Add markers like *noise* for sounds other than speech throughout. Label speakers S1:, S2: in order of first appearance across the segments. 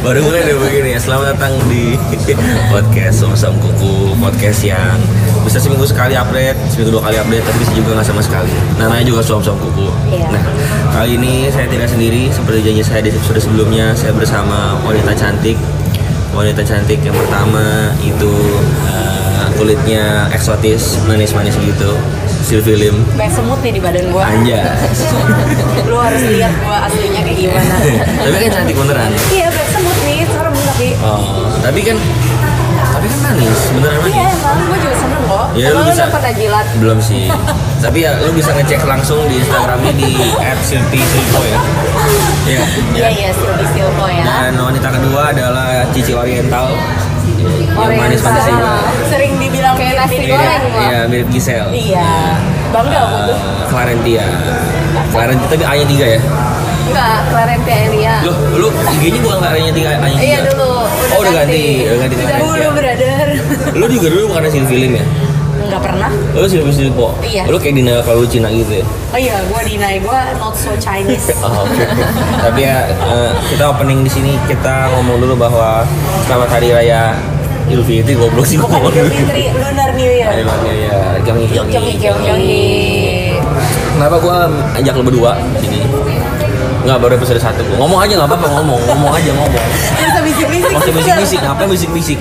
S1: Baru mulai dari begini. Selamat datang di podcast Somsam Kuku podcast yang bisa seminggu sekali update, seminggu dua kali update, tapi bisa juga nggak sama sekali. Namanya juga Somsam Kuku.
S2: Iya.
S1: Nah, kali ini saya tidak sendiri. Seperti janji saya di episode sebelumnya, saya bersama wanita cantik. Wanita cantik yang pertama itu eh, kulitnya eksotis, manis-manis gitu. Sylvie Lim.
S2: Banyak semut nih di badan gua. *laughs*
S1: Anjas.
S2: Lu harus lihat gua aslinya kayak gimana.
S1: *laughs* tapi kan cantik beneran.
S2: iya, banyak semut nih, serem tapi.
S1: Oh, tapi kan tapi kan manis, beneran
S2: Iya,
S1: manis.
S2: emang gua juga serem kok.
S1: Iya, lu
S2: Emang lu
S1: bisa.
S2: udah pernah jilat?
S1: Belum
S2: *laughs*
S1: sih. tapi ya lu bisa ngecek langsung di Instagramnya di @silpi_silpo ya. Iya. Nah,
S2: Iya, iya, silpi silpo ya.
S1: Dan wanita kedua adalah Cici Oriental. Yang manis-manis
S2: Oriental.
S1: juga.
S2: Sering dibilang kayak nasi
S1: Mirip-
S2: goreng
S1: Iya,
S2: lah.
S1: mirip Gisel.
S2: Iya. Bangga aku tuh.
S1: Clarentia. Clarentia tapi A-nya 3 ya.
S2: Enggak, Clarence ya, Elia.
S1: Loh, lu IG-nya bukan Clarentia 3, A-nya 3.
S2: Iya dulu, udah
S1: Oh, udah ganti.
S2: ganti.
S1: Udah ganti iya.
S2: Udah
S1: Clarentia.
S2: dulu, brother.
S1: Lu juga dulu bukan hasil film ya?
S2: Enggak pernah.
S1: Lu Silvi Silpo?
S2: Iya.
S1: Lu kayak Dina kalau Cina gitu ya?
S2: Oh iya, gua dinai gua not so Chinese.
S1: Oh, oke. Tapi ya eh, kita opening di sini kita ngomong dulu bahwa selamat hari raya Idul Fitri goblok sih
S2: Bukan
S1: ngomong.
S2: Idul Fitri, Lunar New Year.
S1: Hari raya ya, Jongi
S2: Jongi,
S1: Jongi.
S2: jongi, jongi.
S1: Kenapa gua ajak lo berdua sini? Enggak baru episode 1 gua. Ngomong aja enggak apa-apa ngomong, ngomong aja ngomong.
S2: Bisa bisik-bisik.
S1: Masih
S2: *laughs*
S1: bisik-bisik, ngapain bisik-bisik?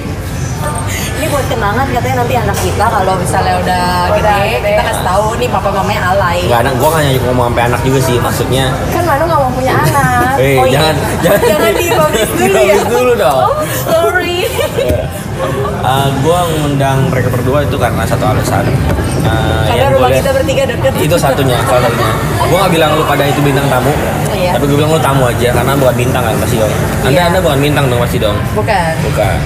S2: Ini buat kenangan katanya nanti anak kita kalau misalnya udah
S3: Udah
S2: gede,
S3: gede.
S2: kita kasih tahu nih papa mamanya alay.
S1: Enggak anak gua kan ngomong sampai anak juga sih maksudnya.
S3: kan Manu nggak mau punya anak
S1: Eh,
S2: Oh, iya.
S1: jangan, jangan,
S2: Jangan
S1: *laughs*
S2: diromis dulu ya.
S1: Diromis dulu dong. Nah,
S2: Oh, sorry.
S1: Eh, gua ngundang mereka berdua itu karena satu alasan. Eh,
S2: Karena
S1: yang
S2: rumah
S1: boleh-
S2: kita bertiga deket.
S1: itu satunya salah satunya gue nggak bilang lu pada itu bintang tamu
S2: Iya.
S1: tapi gue bilang lu tamu aja karena bukan bintang kan pasti dong anda
S2: Iya.
S1: anda bukan bintang dong pasti dong
S2: Bukan.
S1: bukan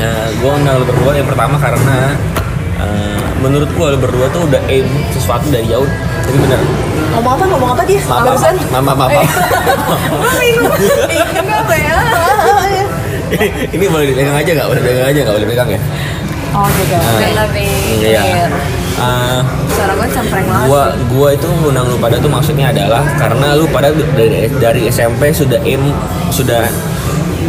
S1: nah, gue undang lu berdua yang pertama karena eh, menurut gue lu berdua tuh udah aim sesuatu dari jauh tapi bener
S2: Ngomong apa? Ngomong apa dia?
S1: Mama,
S2: Barusan?
S1: mama, mama,
S2: *laughs*
S1: mama.
S2: Eh, Gue bingung. Ih, Kenapa ya?
S1: Ah,
S2: iya.
S1: *laughs* ini boleh dipegang aja nggak boleh dipegang aja nggak boleh pegang ya
S2: Oh, gitu. I love it.
S1: Ah, iya Eh,
S2: Suara gue cempreng banget.
S1: gua gua itu ngundang lu pada tuh maksudnya adalah karena lu pada dari, dari SMP sudah im sudah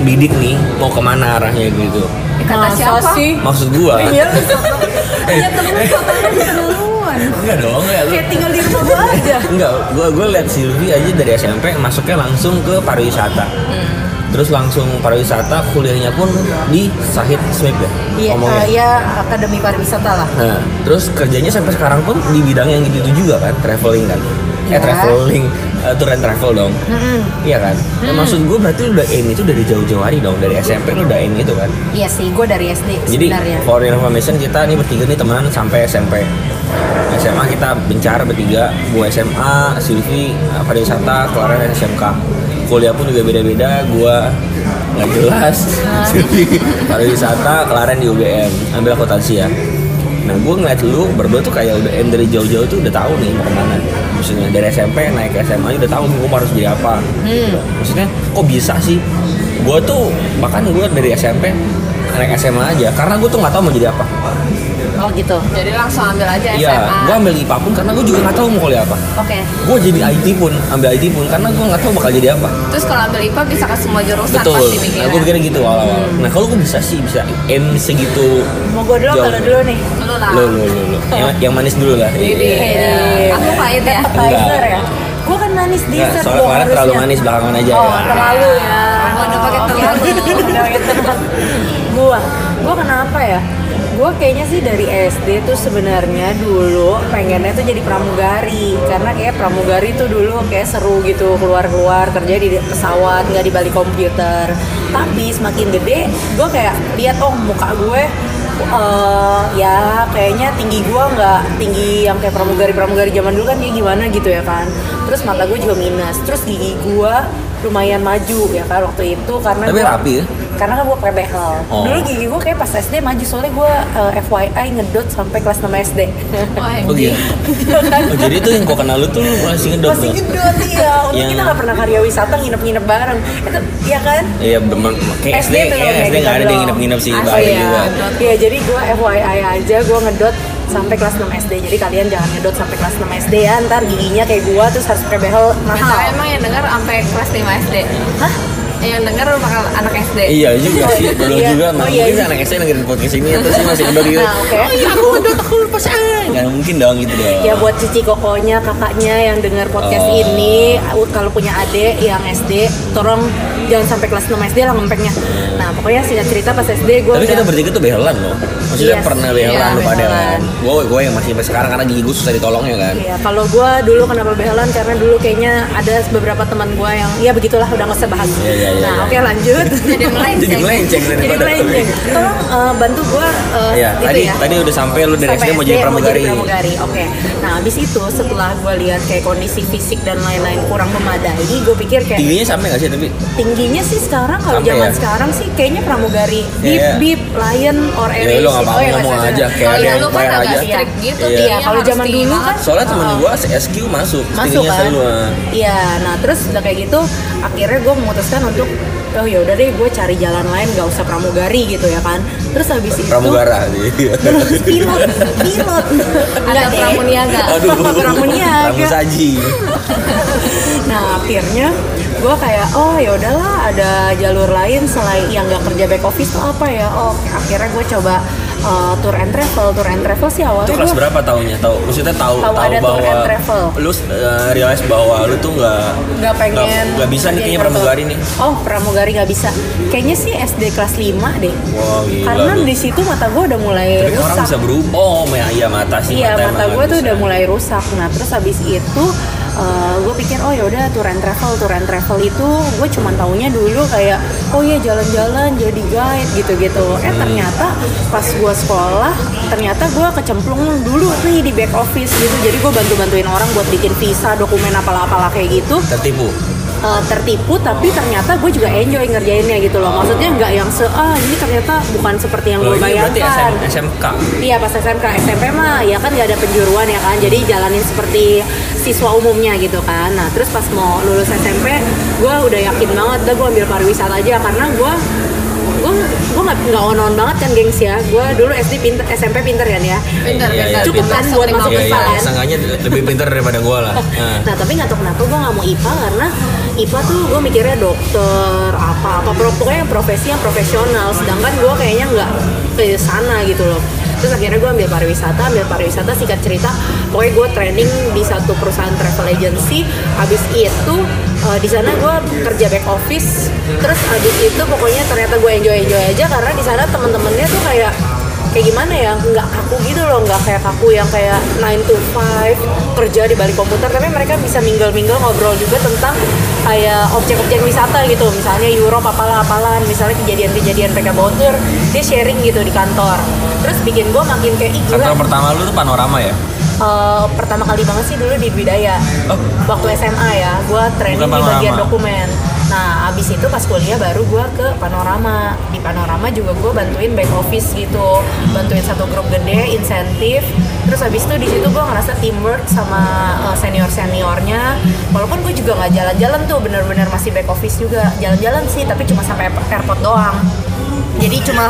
S1: bidik nih mau kemana arahnya gitu
S3: kata
S2: Masa
S3: siapa
S2: sih?
S1: maksud gua
S2: Iya, lu sama. *laughs* Iya,
S1: Eh.
S2: temen sama lu ketemuan.
S1: enggak dong ya lu
S2: Kayak tinggal di rumah gua aja.
S1: enggak gua gua lihat Silvi aja dari SMP masuknya langsung ke pariwisata
S2: Hmm.
S1: terus langsung pariwisata kuliahnya pun di Sahid Smith ya
S2: Iya,
S1: ngomongnya.
S2: ya akademi pariwisata lah.
S1: Nah, terus kerjanya sampai sekarang pun di bidang yang gitu juga kan, traveling kan. Eh
S2: Iya.
S1: traveling, eh, tour and travel dong.
S2: Mm-mm.
S1: Iya kan? Nah, maksud gue berarti lu udah aim itu dari jauh-jauh hari dong, dari SMP lu udah aim itu kan.
S2: Iya sih, gue dari SD
S1: Jadi
S2: sebenarnya.
S1: for your information kita nih bertiga nih temenan sampai SMP. SMA kita bencar bertiga, gue SMA, Silvi, eh, pariwisata, Clara SMK. Kuliah pun juga beda-beda, gue nggak jelas. Silvi pariwisata, Clara di UGM, ambil akuntansi ya. Nah gue ngeliat lu berdua tuh kayak udah aim dari jauh-jauh tuh udah tahu nih mau kemana. Maksudnya dari SMP naik ke SMA udah tahu gue harus jadi apa
S2: Hmm.
S1: maksudnya kok bisa sih gue tuh bahkan gue dari SMP naik SMA aja karena gue tuh nggak tahu mau jadi apa
S2: Oh gitu.
S3: jadi langsung ambil aja
S1: iya
S3: SMA
S1: gue ambil IPA pun karena gue juga nggak tahu mau kuliah apa
S2: Oke.
S1: gue jadi IT pun ambil IT pun karena gue nggak tahu bakal jadi apa
S3: terus kalau ambil IPA bisa ke semua jurusan
S1: betul nah
S3: pasti mikirnya
S1: gue pikirnya gitu awal-awal
S2: Hmm.
S1: nah kalau gue bisa sih bisa aim segitu
S2: Mau gue dulu
S1: Jauh.
S2: kalau dulu nih.
S3: lu lah
S1: lo lo lo lo yang,
S2: Ah.
S1: yang manis dulu lah
S3: Jadi,
S1: Iya.
S3: Iya. Aku pahit ya?
S2: Appetizer ya. Gue kan manis
S1: Nggak,
S2: dessert
S1: soalnya
S2: dong
S1: kemarin terlalu
S2: harusnya.
S1: manis belakangan aja
S2: Oh,
S1: ya.
S2: terlalu ya.
S3: Gua udah pakai
S2: Oke,
S3: terlalu.
S2: oke. Udah pakai terlalu. Gua, gua kenapa ya? Gua kayaknya sih dari SD tuh sebenarnya dulu pengennya tuh jadi pramugari karena kayak pramugari tuh dulu kayak seru gitu keluar-keluar kerja di pesawat nggak di balik komputer. Tapi semakin gede, gua kayak lihat oh muka gue eh, ya kayaknya tinggi gua nggak tinggi yang kayak pramugari-pramugari zaman dulu kan kayak gimana gitu ya kan. Terus mata gue juga minus, terus gigi gua lumayan maju ya kan waktu itu karena
S1: tapi
S2: gua-
S1: rapi ya
S2: karena kan gue prebehel
S1: Oh.
S2: dulu gigi gue kayak pas SD maju soalnya eh, gue FYI ngedot sampai kelas 6 SD
S3: Wah,
S1: oh
S3: anjing.
S1: gitu oh, jadi tuh yang gue kenal lu tuh lu masih ngedot
S2: masih
S1: tuh.
S2: ngedot iya untuk
S1: Yang-
S2: kita nggak pernah karya wisata nginep-nginep bareng itu iya kan
S1: Iya, bener. Kayak SD,
S2: belum
S1: kayak
S2: ya,
S1: SD
S2: kita
S1: eh, nggak ada yang
S2: belum.
S1: nginep-nginep sih,
S2: Asli
S1: bahaya
S2: ya.
S1: juga.
S2: Iya, jadi gue FYI aja, gue ngedot sampai kelas 6 SD. Jadi kalian jangan ngedot sampai kelas 6 SD ya, ntar giginya kayak gue terus harus prebehel
S3: Nah,
S2: mahal.
S3: emang yang denger sampai kelas 5 SD
S2: Hah?
S3: yang denger bakal anak SD.
S1: Iya juga
S2: *laughs*
S1: sih, dulu
S2: Iya.
S1: juga
S2: Oh,
S1: nah,
S2: iya,
S1: mungkin
S2: iya.
S1: anak SD dengerin podcast ini terus dia masih ngedot gitu.
S2: *laughs* Nah, oke.
S1: Oh iya aku ngedot aku lepas ah. Nggak mungkin dong gitu dong.
S2: Ya buat cici kokonya, kakaknya yang dengar podcast
S1: Oh.
S2: ini uh, Kalau punya adik yang SD, tolong jangan sampai kelas 6 SD lah ngempeknya Nah pokoknya singkat cerita pas SD gue
S1: Tapi kita bertiga tuh behelan loh. Maksudnya
S2: Yes,
S1: pernah behelan
S2: iya,
S1: lu pada
S2: behelan.
S1: kan. Gue gue yang masih sampai sekarang karena gigi gue susah ditolong ya kan.
S2: Ya, kalau gue dulu kenapa behelan karena dulu kayaknya ada beberapa teman gue yang ya begitulah udah nggak usah bahas.
S1: Iya, iya, iya,
S2: nah,
S1: iya.
S2: oke lanjut.
S3: Jadi melenceng.
S1: *laughs* Jadi melenceng
S2: Jadi
S1: daripada.
S2: melenceng. Tolong eh, bantu gue eh,
S1: Iya,
S2: itu
S1: tadi
S2: ya.
S1: tadi udah sampai lu dari
S2: Sampai
S1: SD mau jadi pramugari.
S2: pramugari, Oke. Nah, abis itu setelah gue lihat kayak kondisi fisik dan lain-lain kurang memadai, gue pikir kayak
S1: Tingginya sampai nggak sih tapi
S2: tingginya sih sekarang kalau
S1: Sampai
S2: zaman
S1: ya?
S2: sekarang sih kayaknya pramugari bip
S1: Iya.
S2: bip lion or Oh, iya,
S1: ya
S2: air
S1: lu nggak apa-apa ngomong aja kayak ada
S2: ya,
S3: Kalau
S1: yang
S3: dulu kan
S1: bayar
S3: agak
S1: aja.
S3: strict gitu
S1: Iya.
S3: dia.
S2: Kalau zaman dulu kan
S1: Soalnya temen
S2: Oh.
S1: gue SQ masuk,
S2: masuk
S1: tingginya eh,
S2: kan
S1: semua.
S2: iya nah terus udah kayak gitu akhirnya gue memutuskan untuk oh ya udah deh gue cari jalan lain gak usah pramugari gitu ya kan terus habis itu
S1: Pramugara. iya.
S2: *laughs* terus
S1: *laughs*
S2: pilot pilot
S3: Ada
S2: Nggak deh.
S3: pramuniaga.
S1: Aduh,
S2: Pramuniaga.
S1: Pramu Saji.
S2: nah akhirnya gue kayak oh ya udahlah ada jalur lain selain yang nggak kerja back office tuh apa ya oh akhirnya gue coba uh, tour and travel tour and travel sih
S1: Itu
S2: awalnya
S1: kelas
S2: gua-
S1: berapa tahunnya? Tahu maksudnya tahu
S2: Tahu
S1: tahu
S2: ada tour
S1: bahwa
S2: and travel.
S1: lu eh, realize bahwa lu tuh nggak
S2: nggak pengen
S1: nggak bisa nih kayaknya pramugari nih.
S2: oh pramugari nggak bisa kayaknya sih SD kelas 5 deh
S1: Wow, gila.
S2: karena
S1: lu.
S2: di situ mata gue udah mulai
S1: Tapi kan
S2: rusak
S1: orang bisa berubah. Oh, ya, iya mata sih
S2: iya mata
S1: emang
S2: gue tuh
S1: bisa.
S2: udah mulai rusak nah terus habis itu gue pikir oh yaudah tour and travel tour and travel itu gue cuman taunya dulu kayak oh ya jalan-jalan jadi guide gitu-gitu
S1: Hmm.
S2: eh ternyata pas gue sekolah ternyata gue kecemplung dulu nih di back office gitu jadi gue bantu-bantuin orang buat bikin visa dokumen apalah-apalah kayak gitu
S1: tertipu.
S2: uh, tertipu tapi ternyata gue juga enjoy ngerjainnya gitu loh maksudnya nggak yang se ah ini ternyata bukan seperti yang
S1: Lo
S2: gue
S1: Oh, ini berarti SM,
S2: bayangkan
S1: SMK.
S2: Iya pas SMK SMP mah ya kan nggak ada penjuruan ya kan jadi jalanin seperti siswa umumnya gitu kan nah terus pas mau lulus SMP gue udah yakin banget udah gue ambil pariwisata aja karena gue gue gue nggak nggak onon banget kan gengs ya gue dulu SD pinter SMP pinter kan ya
S1: Iya,
S3: Pintar, pintar.
S1: iya,
S2: Cukup
S1: pintar.
S2: kan buat
S3: Lima
S2: masuk
S1: Iya, iya.
S2: IPA kan?
S1: Seenggaknya lebih pintar daripada gue lah. Nah.
S2: *laughs* Nah tapi nggak tahu kenapa gue nggak mau IPA karena IPA tuh gue mikirnya dokter apa apa pro- pokoknya yang profesi yang profesional. Sedangkan gue kayaknya nggak ke sana gitu loh. Terus akhirnya gue ambil pariwisata, ambil pariwisata singkat cerita pokoknya gue training di satu perusahaan travel agency. Habis itu eh, di sana gue kerja back office. Terus habis itu pokoknya ternyata gue enjoy enjoy aja karena di sana temen-temennya tuh kayak kayak gimana ya nggak kaku gitu loh nggak kayak kaku yang kayak 9 to 5 kerja di balik komputer tapi mereka bisa minggal-minggal ngobrol juga tentang kayak objek-objek wisata gitu misalnya Europe apalah apalah misalnya kejadian-kejadian mereka bawa tour dia sharing gitu di kantor terus bikin gue makin kayak ih gila
S1: Kantor pertama lu tuh panorama ya?
S2: Eh, pertama kali banget sih dulu di Bidaya
S1: Oh.
S2: waktu SMA ya gue training
S1: Bukan
S2: di bagian
S1: Panorama.
S2: dokumen nah abis itu pas kuliah baru gue ke Panorama di Panorama juga gue bantuin back office gitu bantuin satu grup gede insentif terus abis itu di situ gue ngerasa teamwork sama senior seniornya walaupun gue juga nggak jalan-jalan tuh bener-bener masih back office juga jalan-jalan sih tapi cuma sampai airport doang jadi
S1: *laughs*
S2: cuma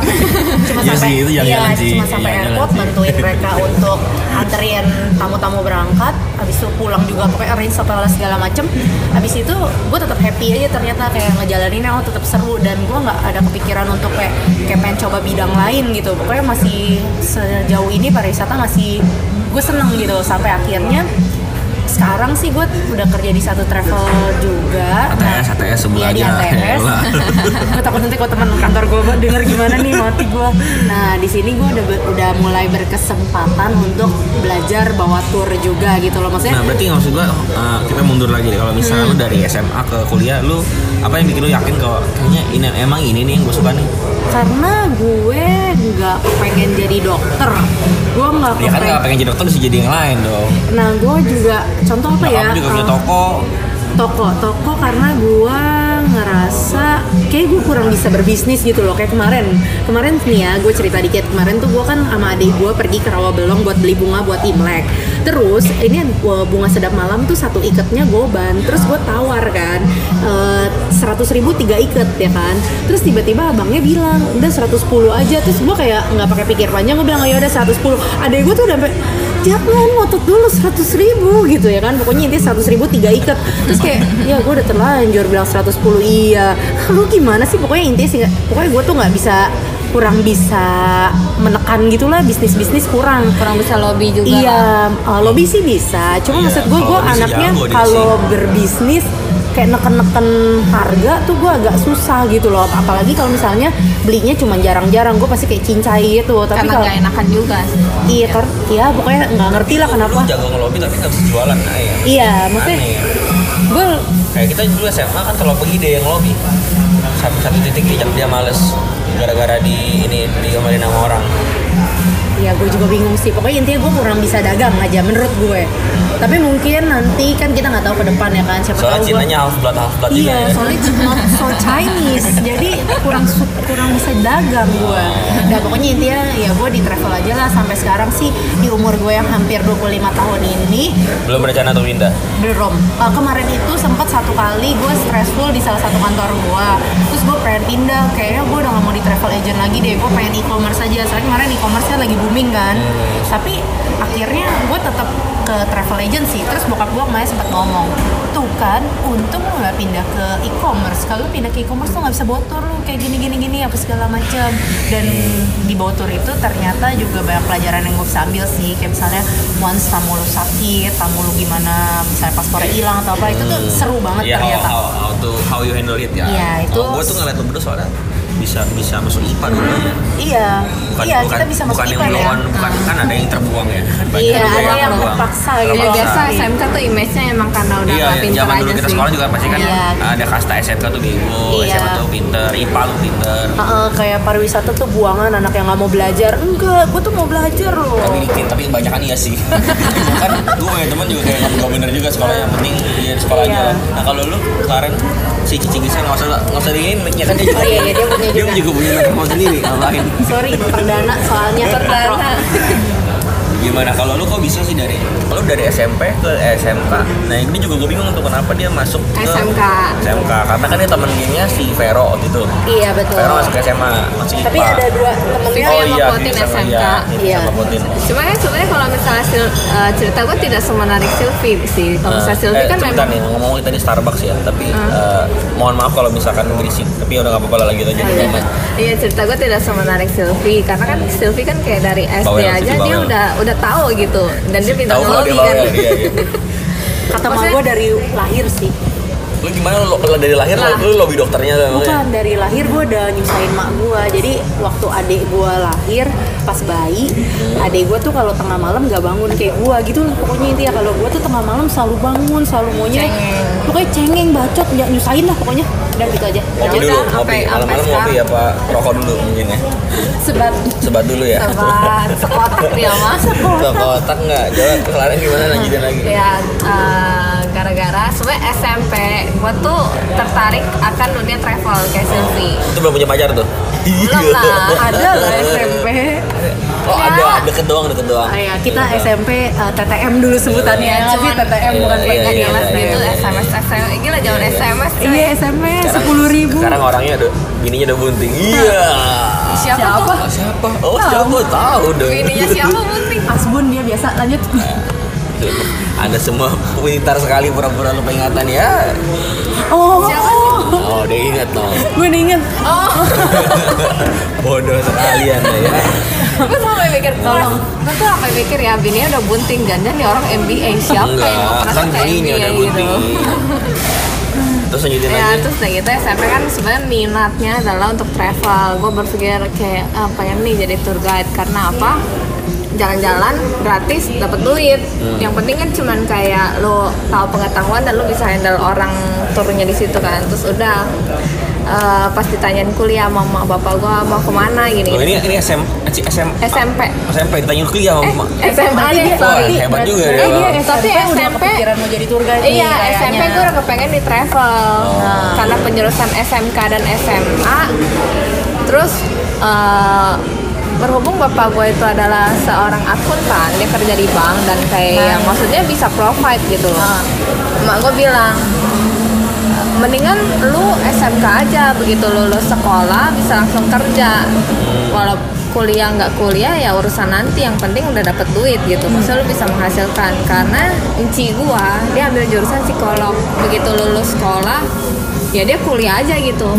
S2: cuma
S1: Iya
S2: sampai
S1: sih, itu
S2: iya,
S1: jalan-jalan sih.
S2: cuma sampai
S1: Jalan-jalan
S2: airport
S1: sih.
S2: bantuin mereka untuk anterin tamu-tamu berangkat habis itu pulang juga pokoknya arrange segala segala macem habis itu gue tetap happy aja ternyata kayak ngejalaninnya oh tetap seru dan gue nggak ada kepikiran untuk kayak kayak pengen coba bidang lain gitu pokoknya masih sejauh ini pariwisata masih gue seneng gitu sampai akhirnya sekarang sih gue udah kerja di satu travel juga
S1: ATS, ATS
S2: Iya
S1: sebelah
S2: di
S1: aja.
S2: ATS.
S1: Yalah.
S2: *laughs* gue takut nanti kok teman kantor gue denger gimana nih mati gue. Nah di sini gue udah udah mulai berkesempatan untuk belajar bawa tour juga gitu loh maksudnya.
S1: Nah, berarti maksud gua uh, kita mundur lagi deh. Kalau misalnya
S2: Hmm.
S1: lu dari SMA ke kuliah, lu apa yang bikin lu yakin kalau kayaknya ini emang ini nih yang gue suka nih?
S2: karena gue nggak pengen jadi dokter. Gue nggak
S1: Ya kan
S2: kepengen.
S1: nggak pengen jadi dokter, bisa jadi yang lain dong.
S2: Nah gue juga contoh apa
S1: Nah,
S2: ya?
S1: kamu juga punya
S2: eh,
S1: toko.
S2: toko toko karena gua ngerasa kayak gue kurang bisa berbisnis gitu loh kayak kemarin kemarin nih ya gue cerita dikit kemarin tuh gue kan sama adik gue pergi ke Rawabelong buat beli bunga buat imlek terus ini uh, bunga sedap malam tuh satu iketnya goban terus gue tawar kan seratus ribu tiga iket ya kan terus tiba-tiba abangnya bilang udah 110 aja terus gue kayak nggak pakai pikir panjang gue bilang "Oh, ya udah 110 adek gue tuh udah sampai jangan ngotot dulu seratus ribu gitu ya kan pokoknya dia seratus ribu tiga ikat terus kayak ya gue udah terlanjur bilang 110 Iya, lu gimana sih? Pokoknya intinya sih, nggak- pokoknya gue tuh nggak bisa kurang bisa menekan gitulah bisnis bisnis kurang.
S3: kurang bisa lobby juga lah.
S2: Iya, uh, lobby sih bisa. Cuma
S1: Iya,
S2: maksud gue,
S1: kalau
S2: gue
S1: lobby sih
S2: anaknya
S1: jago dia
S2: kalau berbisnis kayak neken-neken harga tuh gue agak susah gitu loh. Apalagi kalau misalnya belinya cuma jarang-jarang, gue pasti kayak cincai gitu. Tapi
S3: karena
S2: kalau
S3: nggak enakan juga sih.
S2: iya, ter- ya pokoknya nggak ngerti lah kenapa.
S1: Lu jago ngelobi tapi nggak bisa jualan nah, ya.
S2: Iya, maksudnya
S1: Aneh ya.
S2: gue
S1: Kayak kita dulu SMA kan kalau pergi dia yang ngelobi. Satu, satu titik dia, dia males gara-gara di ini diomelin sama orang.
S2: Ya gue juga bingung sih. Pokoknya intinya gue kurang bisa dagang aja menurut gue. Tapi mungkin nanti kan kita nggak tahu ke depan ya kan siapa
S1: Soalnya
S2: tahu gua-
S1: cintanya half blood half blood juga
S2: Iya,
S1: ya.
S2: soalnya it's not so Chinese, jadi kurang su- kurang bisa dagang gue. Nah pokoknya intinya ya gue di travel aja lah sampai sekarang sih di umur gue yang hampir 25 tahun ini
S1: Belum berencana untuk pindah.
S2: belum. Eh, kemarin itu sempat satu kali gue stressful di salah satu kantor gue, terus gue pengen pindah, kayaknya gue udah gak mau di travel agent lagi deh, gue pengen e-commerce aja. Soalnya kemarin e-commerce lagi booming kan, tapi akhirnya gue tetap ke travel agency. Terus bokap gue kemarin sempat ngomong, tuh kan untung lo gak pindah ke e-commerce. Kalau lo pindah ke e-commerce tuh gak bisa botor lo kayak gini gini gini apa segala macam. Dan di botor itu ternyata juga banyak pelajaran yang gue bisa ambil sih, kayak misalnya once tamu lo sakit, tamu lo gimana, misalnya paspornya hilang atau apa itu tuh seru banget
S1: Iya, how,
S2: ternyata.
S1: how, how, to, how you handle it ya.
S2: Iya, itu-
S1: gue tuh ngeliat lu berdua soalnya bisa bisa masuk IPA dulu ya.
S2: Iya,
S1: Bukan,
S2: iya
S1: bukan,
S2: kita bisa masuk
S1: bukan yang
S2: IPA ya.
S1: belum- bukan kan ada yang terbuang ya. Kan banyak
S2: Iya,
S1: juga
S2: ada yang
S1: terbuang.
S2: terpaksa gitu.
S3: Ya
S2: Kalau
S3: biasa
S2: saat-
S3: SMK tuh image-nya emang karena udah
S1: Iya,
S3: nggak pinter
S1: zaman dulu
S3: aja
S1: kita
S3: sih.
S1: sekolah juga pasti kan
S2: Iya.
S1: ada kasta SMK tuh bego,
S2: Iya.
S1: SMA tuh pinter, IPA lu pinter.
S2: Heeh, kayak pariwisata tuh buangan anak yang nggak mau belajar. Enggak, gue tuh mau belajar loh.
S1: Tapi dikit, tapi kebanyakan iya
S2: *laughs*
S1: sih. kan gue punya teman juga kayak nggak bener juga sekolah yang penting dia di sekolah aja.
S2: Iya.
S1: Nah kalau lu kemarin si Cici Gisa nggak usah nggak usah diin, ya kan dia juga
S2: Oh iya, iya, dia punya
S1: dia
S2: juga.
S1: juga punya nomor sendiri ngapain?
S2: Sorry, perdana soalnya
S3: Karena
S1: Gimana kalau lu kok bisa sih dari kalau dari SMP ke SMK? Nah ini juga gue bingung tuh kenapa dia masuk ke
S3: SMK.
S1: SMK karena kan dia temen gengnya si Vero gitu.
S2: Iya betul.
S1: Vero masuk SMA, masuk IPA.
S2: Tapi ada dua temennya
S3: Oh,
S2: yang
S3: iya. ngekuatin SMK.
S1: Iya,
S2: Iya.
S1: ngekuatin.
S3: Cuma kan sebenarnya kalau misalnya sil- eh, cerita gue tidak semenarik Silvi sih. Kalau misalnya Silvi
S1: Eh,
S3: kan
S1: cepetan
S3: memang Ah.
S1: nih, ngomong tadi Starbucks ya, tapi eh, mohon maaf kalau misalkan berisik, tapi ya udah nggak apa-apa lah lanjut aja.
S3: Iya. Iya cerita gue tidak semenarik Silvi karena kan Silvi kan kayak dari SD
S1: Bawel,
S3: aja
S1: Silvi
S3: dia
S1: bawel.
S3: udah udah tahu gitu dan dia pintar
S1: Tahu kalau
S3: ngelobi
S1: dia
S3: kan.
S1: bawel, iya, iya.
S2: kata mak
S3: Maksudnya-
S2: gue dari lahir sih.
S1: Lu gimana lu lu dari lahir
S3: Lah.
S1: lu, lu lobby dokternya Ya tuh emangnya?
S2: Bukan kan dari lahir gue udah nyusahin mak gue. Jadi waktu adik gue lahir pas bayi,
S1: Hmm.
S2: adik gue tuh kalau tengah malam gak bangun kayak gue gitu. loh. Pokoknya intinya kalau gue tuh tengah malam selalu bangun, selalu maunya
S3: Cengeng.
S2: pokoknya cengeng bacot, ya nyusahin lah pokoknya. Udah gitu aja.
S1: Ngopi
S3: Ya
S1: dulu,
S3: udah,
S1: ngopi.
S3: sampai-
S1: Malam-malam
S3: sampai
S1: ngopi apa rokok dulu mungkin ya.
S3: Sebab
S1: Sebat dulu ya.
S3: sebab sekotak dia mas.
S1: Tuh kotak nggak? Jalan kelarin gimana lanjutin lagi?
S3: Ya eh, gara-gara sebenarnya SMP gue tuh tertarik akan dunia travel kayak Silvi.
S1: Itu belum punya pacar tuh?
S3: Belum lah,
S2: Ada
S1: *laughs*
S2: lah SMP.
S1: Oh ada,
S3: Nggak.
S1: deket doang, deket doang.
S3: Oh
S2: Ah,
S1: Iya.
S2: ya, kita SMP eh, TTM dulu sebutannya.
S3: Iya,
S2: Ya, nggak sih
S3: cuman-
S2: TTM bukan
S1: Iya,
S2: PKN
S1: iya,
S2: ya Mas?
S1: iya,
S3: Gitu
S1: iya.
S3: SMS SMS gila jangan SMS. coy.
S2: Iya SMP
S1: Sekarang-
S2: sepuluh ribu.
S1: Sekarang orangnya udah, bininya udah bunting.
S3: Nah.
S1: Iya.
S3: Siapa,
S2: Siapa?
S3: tuh?
S1: Oh, siapa? Oh siapa tahu dong.
S3: Ininya siapa
S1: *laughs*
S3: penting?
S2: Asbun dia biasa lanjut.
S1: Anda semua pintar sekali pura-pura lupa ingatan ya.
S2: Oh,
S3: Siapa
S2: *laughs*
S1: Oh, dia ingat dong. *laughs*
S2: gue udah inget.
S3: Oh, *laughs*
S1: Bodoh sekali Anda ya.
S3: gue sampai mikir tolong. Gue tuh sampai mikir ya bininya udah bunting kan dan nih orang MBA siapa yang mau
S1: Enggak,
S3: pernah
S1: kan
S3: ke
S1: bininya
S3: MBA
S1: udah
S3: gitu.
S1: gunting. Terus lanjutin
S3: Ya
S1: lagi.
S3: terus udah gitu SMP kan sebenarnya minatnya adalah untuk travel. Gue berpikir kayak ah, pengen nih jadi tour guide karena apa? Jalan-jalan gratis dapat duit. Yang penting kan cuman kayak lo tahu pengetahuan dan lo bisa handle orang turunnya di situ kan. Terus udah eh, pas ditanyain kuliah sama emak bapak gue mau kemana gini.
S1: Oh, iya. ini ini SM, SM,
S3: SMP.
S1: SMP ditanya kuliah sama emak.
S3: Eh, SMA
S2: Iya,
S3: deh, sorry.
S1: Wah, hebat juga
S2: berarti
S1: ya.
S2: dia
S3: Tapi
S2: SMP udah
S3: SMP
S2: kepikiran mau jadi tour guide nih
S3: Iya,
S2: kayaknya.
S3: SMP gue udah kepengen di travel
S1: Oh.
S3: karena penjurusan SMK dan SMA. Terus eh, berhubung bapak gue itu adalah seorang akuntan, dia kerja di bank dan kayak
S2: Nah.
S3: yang maksudnya bisa provide gitu loh.
S2: Ah.
S3: Mak gue bilang mendingan lu SMK aja begitu lulus sekolah bisa langsung kerja. Walaupun kuliah nggak kuliah ya urusan nanti yang penting udah dapet duit gitu maksudnya lu bisa menghasilkan karena inci gua dia ambil jurusan psikolog begitu lulus sekolah ya dia kuliah aja gitu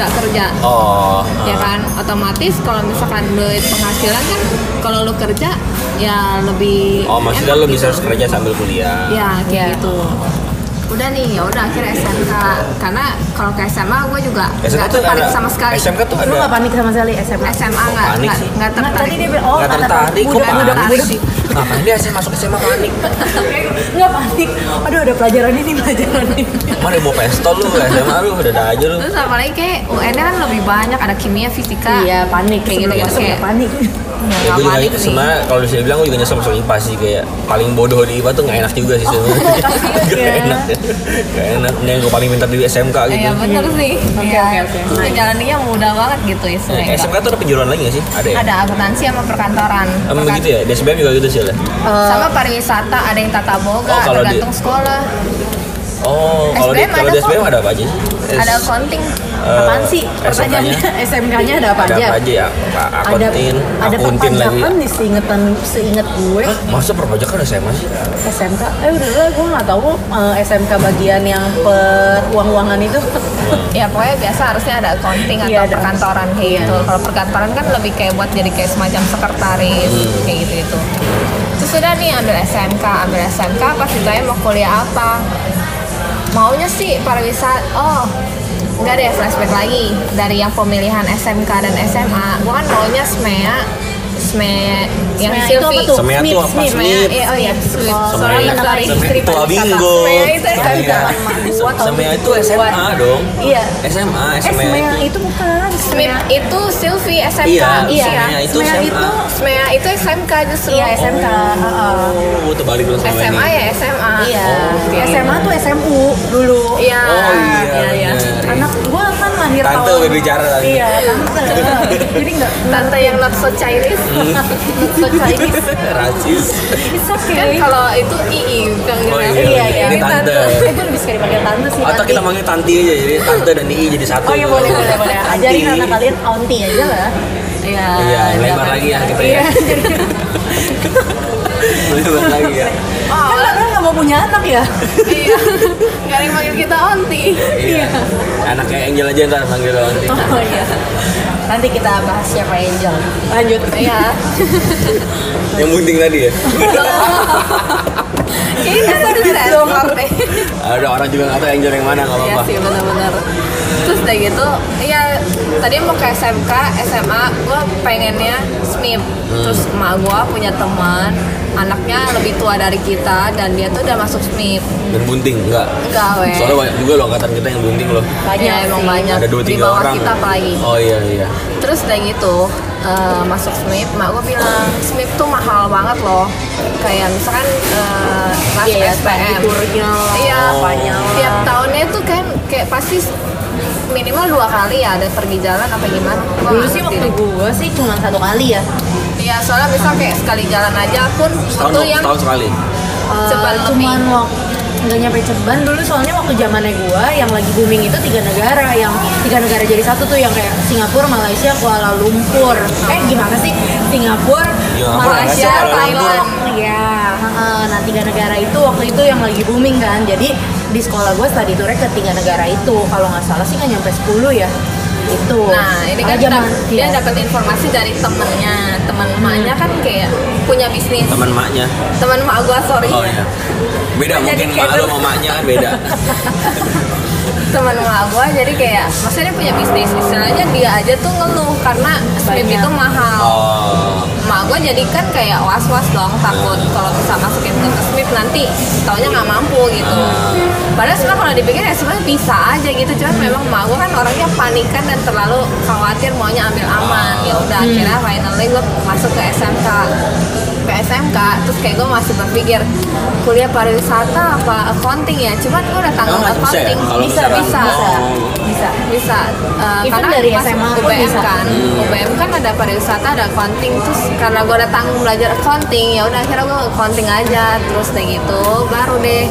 S3: nggak kerja
S1: Oh.
S3: ya kan otomatis kalau misalkan duit penghasilan kan kalau lu kerja ya lebih
S1: Oh, maksudnya lo
S3: enak
S1: bisa
S3: gitu.
S1: harus kerja sambil kuliah.
S3: ya kayak
S2: Ya.
S3: gitu udah nih ya udah akhirnya SMK karena kalau ke SMA gue juga
S1: SMK
S3: nggak
S1: tuh
S3: tertarik
S1: ada-
S3: sama sekali
S1: SMK tuh
S2: Lu nggak
S1: ada.
S2: panik sama sekali SMA?
S3: SMA nggak
S1: panik
S3: nggak-
S1: sih.
S3: nggak
S2: Nah, tadi
S3: tertarik
S2: dia bilang, oh
S1: Nggak Nah, tertarik, kok
S2: Udah, udah,
S1: panik
S3: udah.
S1: sih? Ngapain dia saya masuk SMA panik?
S2: Nggak panik. Aduh ada pelajaran ini, pelajaran ini.
S1: Mana bawa pistol lu, SMA lu, udah ada aja lu.
S3: terus apalagi kayak UN kan lebih banyak ada kimia fisika
S2: Iya panik.
S3: kayak gitu
S2: Sebelum masuk udah
S3: kayak
S2: panik.
S1: Ya,
S3: nggak
S1: gue juga
S3: panik
S1: itu
S3: nih.
S1: sebenarnya kalau bisa dibilang gue juga nyesel masuk IPA sih kayak paling bodoh di IPA tuh nggak enak juga sih
S3: Oh, *laughs*
S1: sebenarnya. Nggak
S2: ya.
S1: enak, nggak enak. Ini yang gue paling pintar di SMK gitu.
S3: Iya bener sih.
S2: Oke,
S3: Iya.
S2: oke, oke.
S3: Terus Jalannya mudah banget gitu
S1: Nah,
S3: istilahnya.
S1: SMK tuh ada penjuruan lagi nggak sih? Ada ya?
S3: Ada akuntansi sama perkantoran.
S1: Emang
S3: Perkan-
S1: begitu ya? Di SBM juga gitu sih lah.
S3: Sama pariwisata, ada yang tata boga,
S1: Oh, kalau di-
S3: tergantung sekolah.
S1: Oh, kalau di
S3: SBM
S1: kalau di
S3: ada kok.
S1: SBM ada apa aja sih?
S3: Ada accounting.
S1: Eh,
S2: Apaan sih? Pertanyaannya
S1: SMK-nya?
S2: SMK-nya ada apa
S1: Ada
S2: aja?
S1: apa aja ya? Pak, Akuntin,
S2: ada
S1: akuntin lagi.
S2: perpajakan di seingetan seinget gue
S1: Hah, Masa perpajakan SMA sih?
S2: SMK eh udah lah gue nggak tahu eh, SMK bagian yang peruang-uangan itu
S3: Ya pokoknya biasa harusnya ada accounting atau
S2: Iya, ada. Iya.
S3: perkantoran kayak gitu. Kalau perkantoran kan lebih kayak buat jadi kayak semacam sekretaris
S1: Hmm.
S3: kayak gitu gitu. Terus sudah nih ambil SMK, ambil SMK pas ditanya mau kuliah apa. Maunya sih pariwisata. Oh, nggak deh flashback lagi dari yang pemilihan SMK dan SMA. Gua kan maunya SMEA, SMEA E yang
S2: Nah, itu
S3: Silvi.
S2: apa tuh?
S1: Semen
S2: Smith,
S1: tuh apa?
S2: Smith.
S1: Semen. Smith.
S3: eh, oh iya, Smith.
S2: Oh,
S1: Semen.
S3: Sorry, sorry.
S1: Semen
S2: Istri
S1: tua
S2: pariwisata.
S1: bingo.
S3: Semen itu SMK.
S1: Iya.
S2: Gua tahun
S1: Semen itu SMA dong.
S2: Iya.
S1: SMA,
S2: eh
S1: SMA.
S2: SMEA itu bukan
S3: Smith E itu Silvi SMK.
S1: Iya,
S2: Iya.
S1: SMA itu
S2: Semen
S1: SMA.
S2: itu
S3: SMEA E itu SMK justru.
S2: Iya, SMK. Heeh.
S1: Oh, gue terbalik dulu sama
S3: SMA
S1: ini.
S3: ya SMA.
S2: iya
S1: oke.
S2: SMA tuh SMU dulu
S3: Iya.
S1: Oh iya. bener.
S2: anak gue kan lahir
S1: Tante
S2: tahun
S1: berbicara lagi.
S2: iya tante jadi nggak
S3: Tante yang not so Chinese.
S1: Hmm.
S3: *laughs* not so Chinese.
S1: Rasis.
S2: it's okay
S3: Kan kalau itu II panggilnya.
S1: Oh, iya,
S2: iya iya
S1: ini tante.
S2: *laughs* eh gue lebih suka dipanggil tante sih
S1: Atau
S2: nanti.
S1: kita manggil Tanti aja, jadi Tante dan Ii jadi satu.
S2: Oh iya boleh boleh boleh.
S1: Tanti.
S2: Ajarin anak kalian aunty aja lah.
S3: Iya.
S1: Iya, lebar lagi ya kita
S2: Iya.
S1: ya. *laughs* Lebar lagi ya.
S3: Oh,
S2: Kan padahal nggak mau punya anak ya.
S3: iya. *laughs* Gak ada yang manggil kita onti.
S1: Iya. Anaknya Angel aja ntar manggil lo nanti.
S2: Oh iya. Nanti kita bahas siapa Angel. Lanjut.
S3: Iya.
S1: Yang bunting tadi ya.
S3: Kayaknya nggak ada
S2: Sakit dong.
S3: sensor deh.
S1: Ada orang juga nggak tahu Angel yang mana nggak
S3: Iya
S1: apa-apa.
S3: sih benar-benar. Terus udah gitu, ya tadi mau ke SMK, SMA, gue pengennya SMIP.
S1: Hmm.
S3: Terus emak gue punya teman, anaknya lebih tua dari kita dan dia tuh udah masuk SMIP.
S1: Dan bunting enggak.
S3: Enggak weh.
S1: Soalnya banyak juga lo angkatan kita yang bunting loh.
S2: Iya, Banyak
S3: ya, emang
S2: sih.
S3: banyak.
S1: Ada dua
S3: Di
S1: tiga
S3: bawah
S1: orang.
S3: kita apalagi.
S1: Oh iya iya.
S3: Terus udah gitu, eh, masuk SMIP, mak gue bilang SMIP tuh mahal banget loh. Kayak misalkan eh, kelas
S2: Iya, ya,
S3: SPM.
S2: turnya lah,
S3: Iya,
S1: Oh.
S2: apanya lah.
S3: tiap tahunnya tuh kan kayak pasti minimal dua kali ya ada pergi jalan apa gimana. Gua
S2: Dulu
S3: nggak
S2: sih
S3: ngerti
S2: waktu
S3: deh.
S2: gue sih cuma satu kali ya.
S3: Iya, soalnya misal kayak sekali jalan aja pun
S1: Setahun
S3: itu yang
S1: setahun sekali.
S2: Eh,
S3: Ceban lebih.
S2: cuman waktu nggak nyampe ceban dulu soalnya waktu zamannya gue yang lagi booming itu tiga negara yang tiga negara jadi satu tuh yang kayak Singapura, Malaysia, Kuala Lumpur. Eh gimana sih? Singapura,
S1: Singapura,
S2: Malaysia,
S1: Iya, Malaysia, Kuala
S2: Thailand.
S3: Lumpur.
S2: Ya, heeh. nah tiga negara itu waktu itu yang lagi booming kan. Jadi di sekolah gue study tournya ke tiga negara itu. Kalau nggak salah sih nggak nyampe 10 ya. Itu.
S3: Nah, ini kan
S2: Aja Hmm.
S3: dap-
S2: mah,
S3: dia
S2: ya.
S3: dapat informasi dari temennya, teman emaknya kan kayak punya bisnis.
S1: Teman maknya.
S3: Teman emak gua sorry.
S1: Oh iya. Beda
S3: Jadi
S1: mungkin
S3: kayak
S1: mak lo
S3: dulu.
S1: sama maknya kan beda.
S3: teman emak gua jadi kayak maksudnya dia punya bisnis istilahnya dia aja tuh ngeluh karena SPP
S2: Banyak.
S3: itu mahal.
S1: Oh.
S3: Emak gua jadi kan kayak was-was dong takut kalau bisa masukin ke SPP nanti taunya nggak mampu gitu. Padahal sebenarnya kalau dipikir ya sebenarnya bisa aja gitu cuman memang emak gua kan orangnya panikan dan terlalu khawatir maunya ambil aman. Ya udah
S1: Hmm.
S3: akhirnya finally gua masuk ke SMK ke SMK terus kayak gua masih berpikir kuliah pariwisata apa accounting ya cuman gua udah tanggung
S1: Emang masih bisa ya?
S3: accounting
S1: Kalau
S3: bisa
S1: misalkan-
S3: bisa
S1: Oh.
S2: bisa.
S3: bisa eh,
S2: Even
S3: karena
S2: dari
S3: masuk
S2: SMA pun
S3: UBM
S2: bisa.
S3: kan
S1: Hmm.
S3: UBM kan ada pariwisata ada accounting terus karena gue udah tanggung belajar accounting ya udah akhirnya gue accounting aja terus kayak gitu baru deh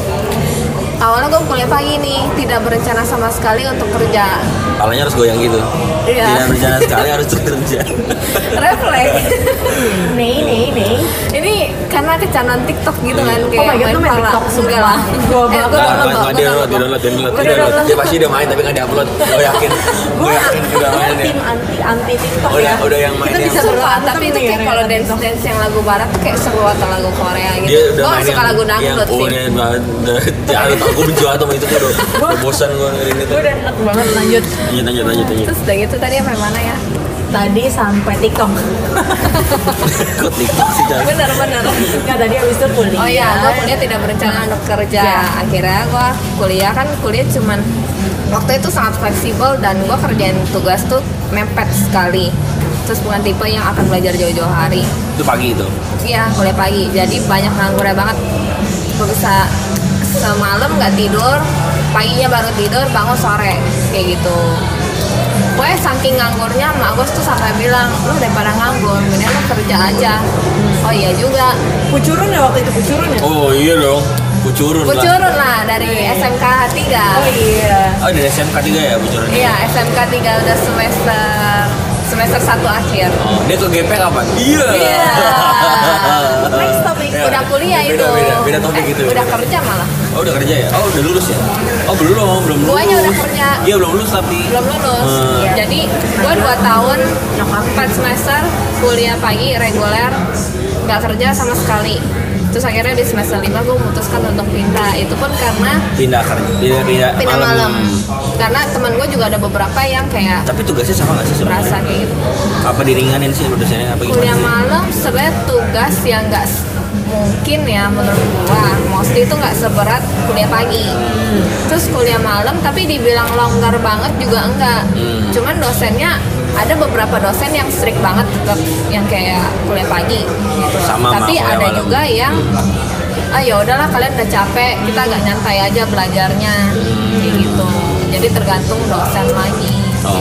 S3: awalnya gue kuliah pagi nih tidak berencana sama sekali untuk kerja
S1: Palanya harus goyang gitu.
S3: Iya.
S1: Tidak berencana sekali harus kerja.
S3: refleks *laughs*
S2: Nih, nih, nih.
S3: ini karena kecanduan TikTok gitu kan kayak
S2: Oh my God, lu main TikTok
S3: juga
S2: sumpah.
S3: lah
S2: Gua bakal-
S3: Eh, gua
S1: Hmm. Nggak,
S3: download,
S1: nggak, dia download,
S3: gua
S1: dia
S3: download.
S1: download, dia download,
S3: Gua
S1: dia download.
S3: download.
S1: Dia pasti udah main tapi nggak diupload. Gue yakin. Gue
S2: Gue
S1: yakin
S2: *laughs*
S1: udah main dia.
S2: tim anti anti TikTok
S1: Udah,
S2: ya.
S1: Oh, iya, udah yang main
S2: Kita
S1: yang-
S2: bisa ya,
S3: Seru
S2: berdoa,
S3: banget, tapi itu kayak kalau dance dance yang lagu barat tuh kayak seru atau lagu Korea gitu.
S1: Dia udah
S3: Gua
S1: main
S3: suka
S1: yang-
S3: lagu
S1: yang
S3: dangdut sih.
S1: udah banget. Ya, lu tau gue benci banget sama itu gue udah udah bosan gue dengerin itu.
S2: Gue udah enak banget lanjut.
S1: Lanjut, lanjut, lanjut, lanjut.
S3: *laughs* Terus udah gitu tadi apa yang mana ya?
S2: Tadi sampai TikTok.
S1: Ikut TikTok sih jangan.
S3: Bener bener.
S2: Enggak tadi habis itu kuliah.
S3: Oh iya, gue kuliah tidak berencana untuk kerja.
S2: Ya.
S3: Akhirnya gue kuliah kan kuliah cuman waktu itu sangat fleksibel dan gue kerjain tugas tuh mepet sekali. Terus bukan tipe yang akan belajar jauh-jauh hari.
S1: Itu pagi itu.
S3: Iya, kuliah pagi. Jadi banyak nganggurnya banget. Gue bisa semalam nggak tidur, paginya baru tidur, bangun sore kayak gitu. Gue saking nganggurnya, mak gue tuh sampai bilang, lu daripada nganggur, mendingan lu kerja aja. Oh iya juga.
S2: Pucurun ya waktu itu pucurun ya.
S1: Oh iya dong. Pucurun
S3: Gue
S1: lah.
S3: curun lah dari SMK 3.
S2: Oh iya.
S1: Iya. Oh dari SMK 3 ya pucurun.
S3: Iya, SMK 3 udah semester semester 1 akhir.
S1: Oh, dia ke GP kapan? Iya. *laughs*
S3: Iya.
S2: Next topic.
S1: Iya.
S3: Udah kuliah
S1: beda,
S3: itu.
S1: Beda, beda topik gitu.
S3: Eh,
S1: itu.
S3: Udah kerja malah.
S1: Oh udah kerja ya? Oh udah lulus ya? Oh belum, belum lulus.
S3: Guanya udah kerja.
S1: Iya belum lulus tapi.
S3: belum lulus Iya.
S1: Hmm.
S3: jadi gue 2 tahun 4 semester kuliah pagi reguler nggak kerja sama sekali terus akhirnya di semester 5 gue memutuskan untuk pindah itu pun karena
S1: Pindah kerja, pindah, pindah,
S3: pindah malam, karena teman gue juga ada beberapa yang kayak
S1: Tapi tugasnya sama nggak sih sebenarnya?
S3: berasa kayak gitu
S1: Apa diringanin sih dosennya apa gimana?
S3: kuliah
S1: sih?
S3: malam sebenarnya tugas yang nggak s- mungkin ya menurut gua mostly itu nggak seberat kuliah pagi
S1: Hmm.
S3: terus kuliah malam tapi dibilang longgar banget juga enggak
S1: Hmm.
S3: cuman dosennya ada beberapa dosen yang strict banget tetap yang kayak kuliah pagi gitu.
S1: Sama sama
S3: tapi
S1: kuliah
S3: ada
S1: malam.
S3: juga yang ah ya udahlah kalian udah capek kita agak nyantai aja belajarnya kayak
S1: Hmm.
S3: gitu jadi tergantung dosen lagi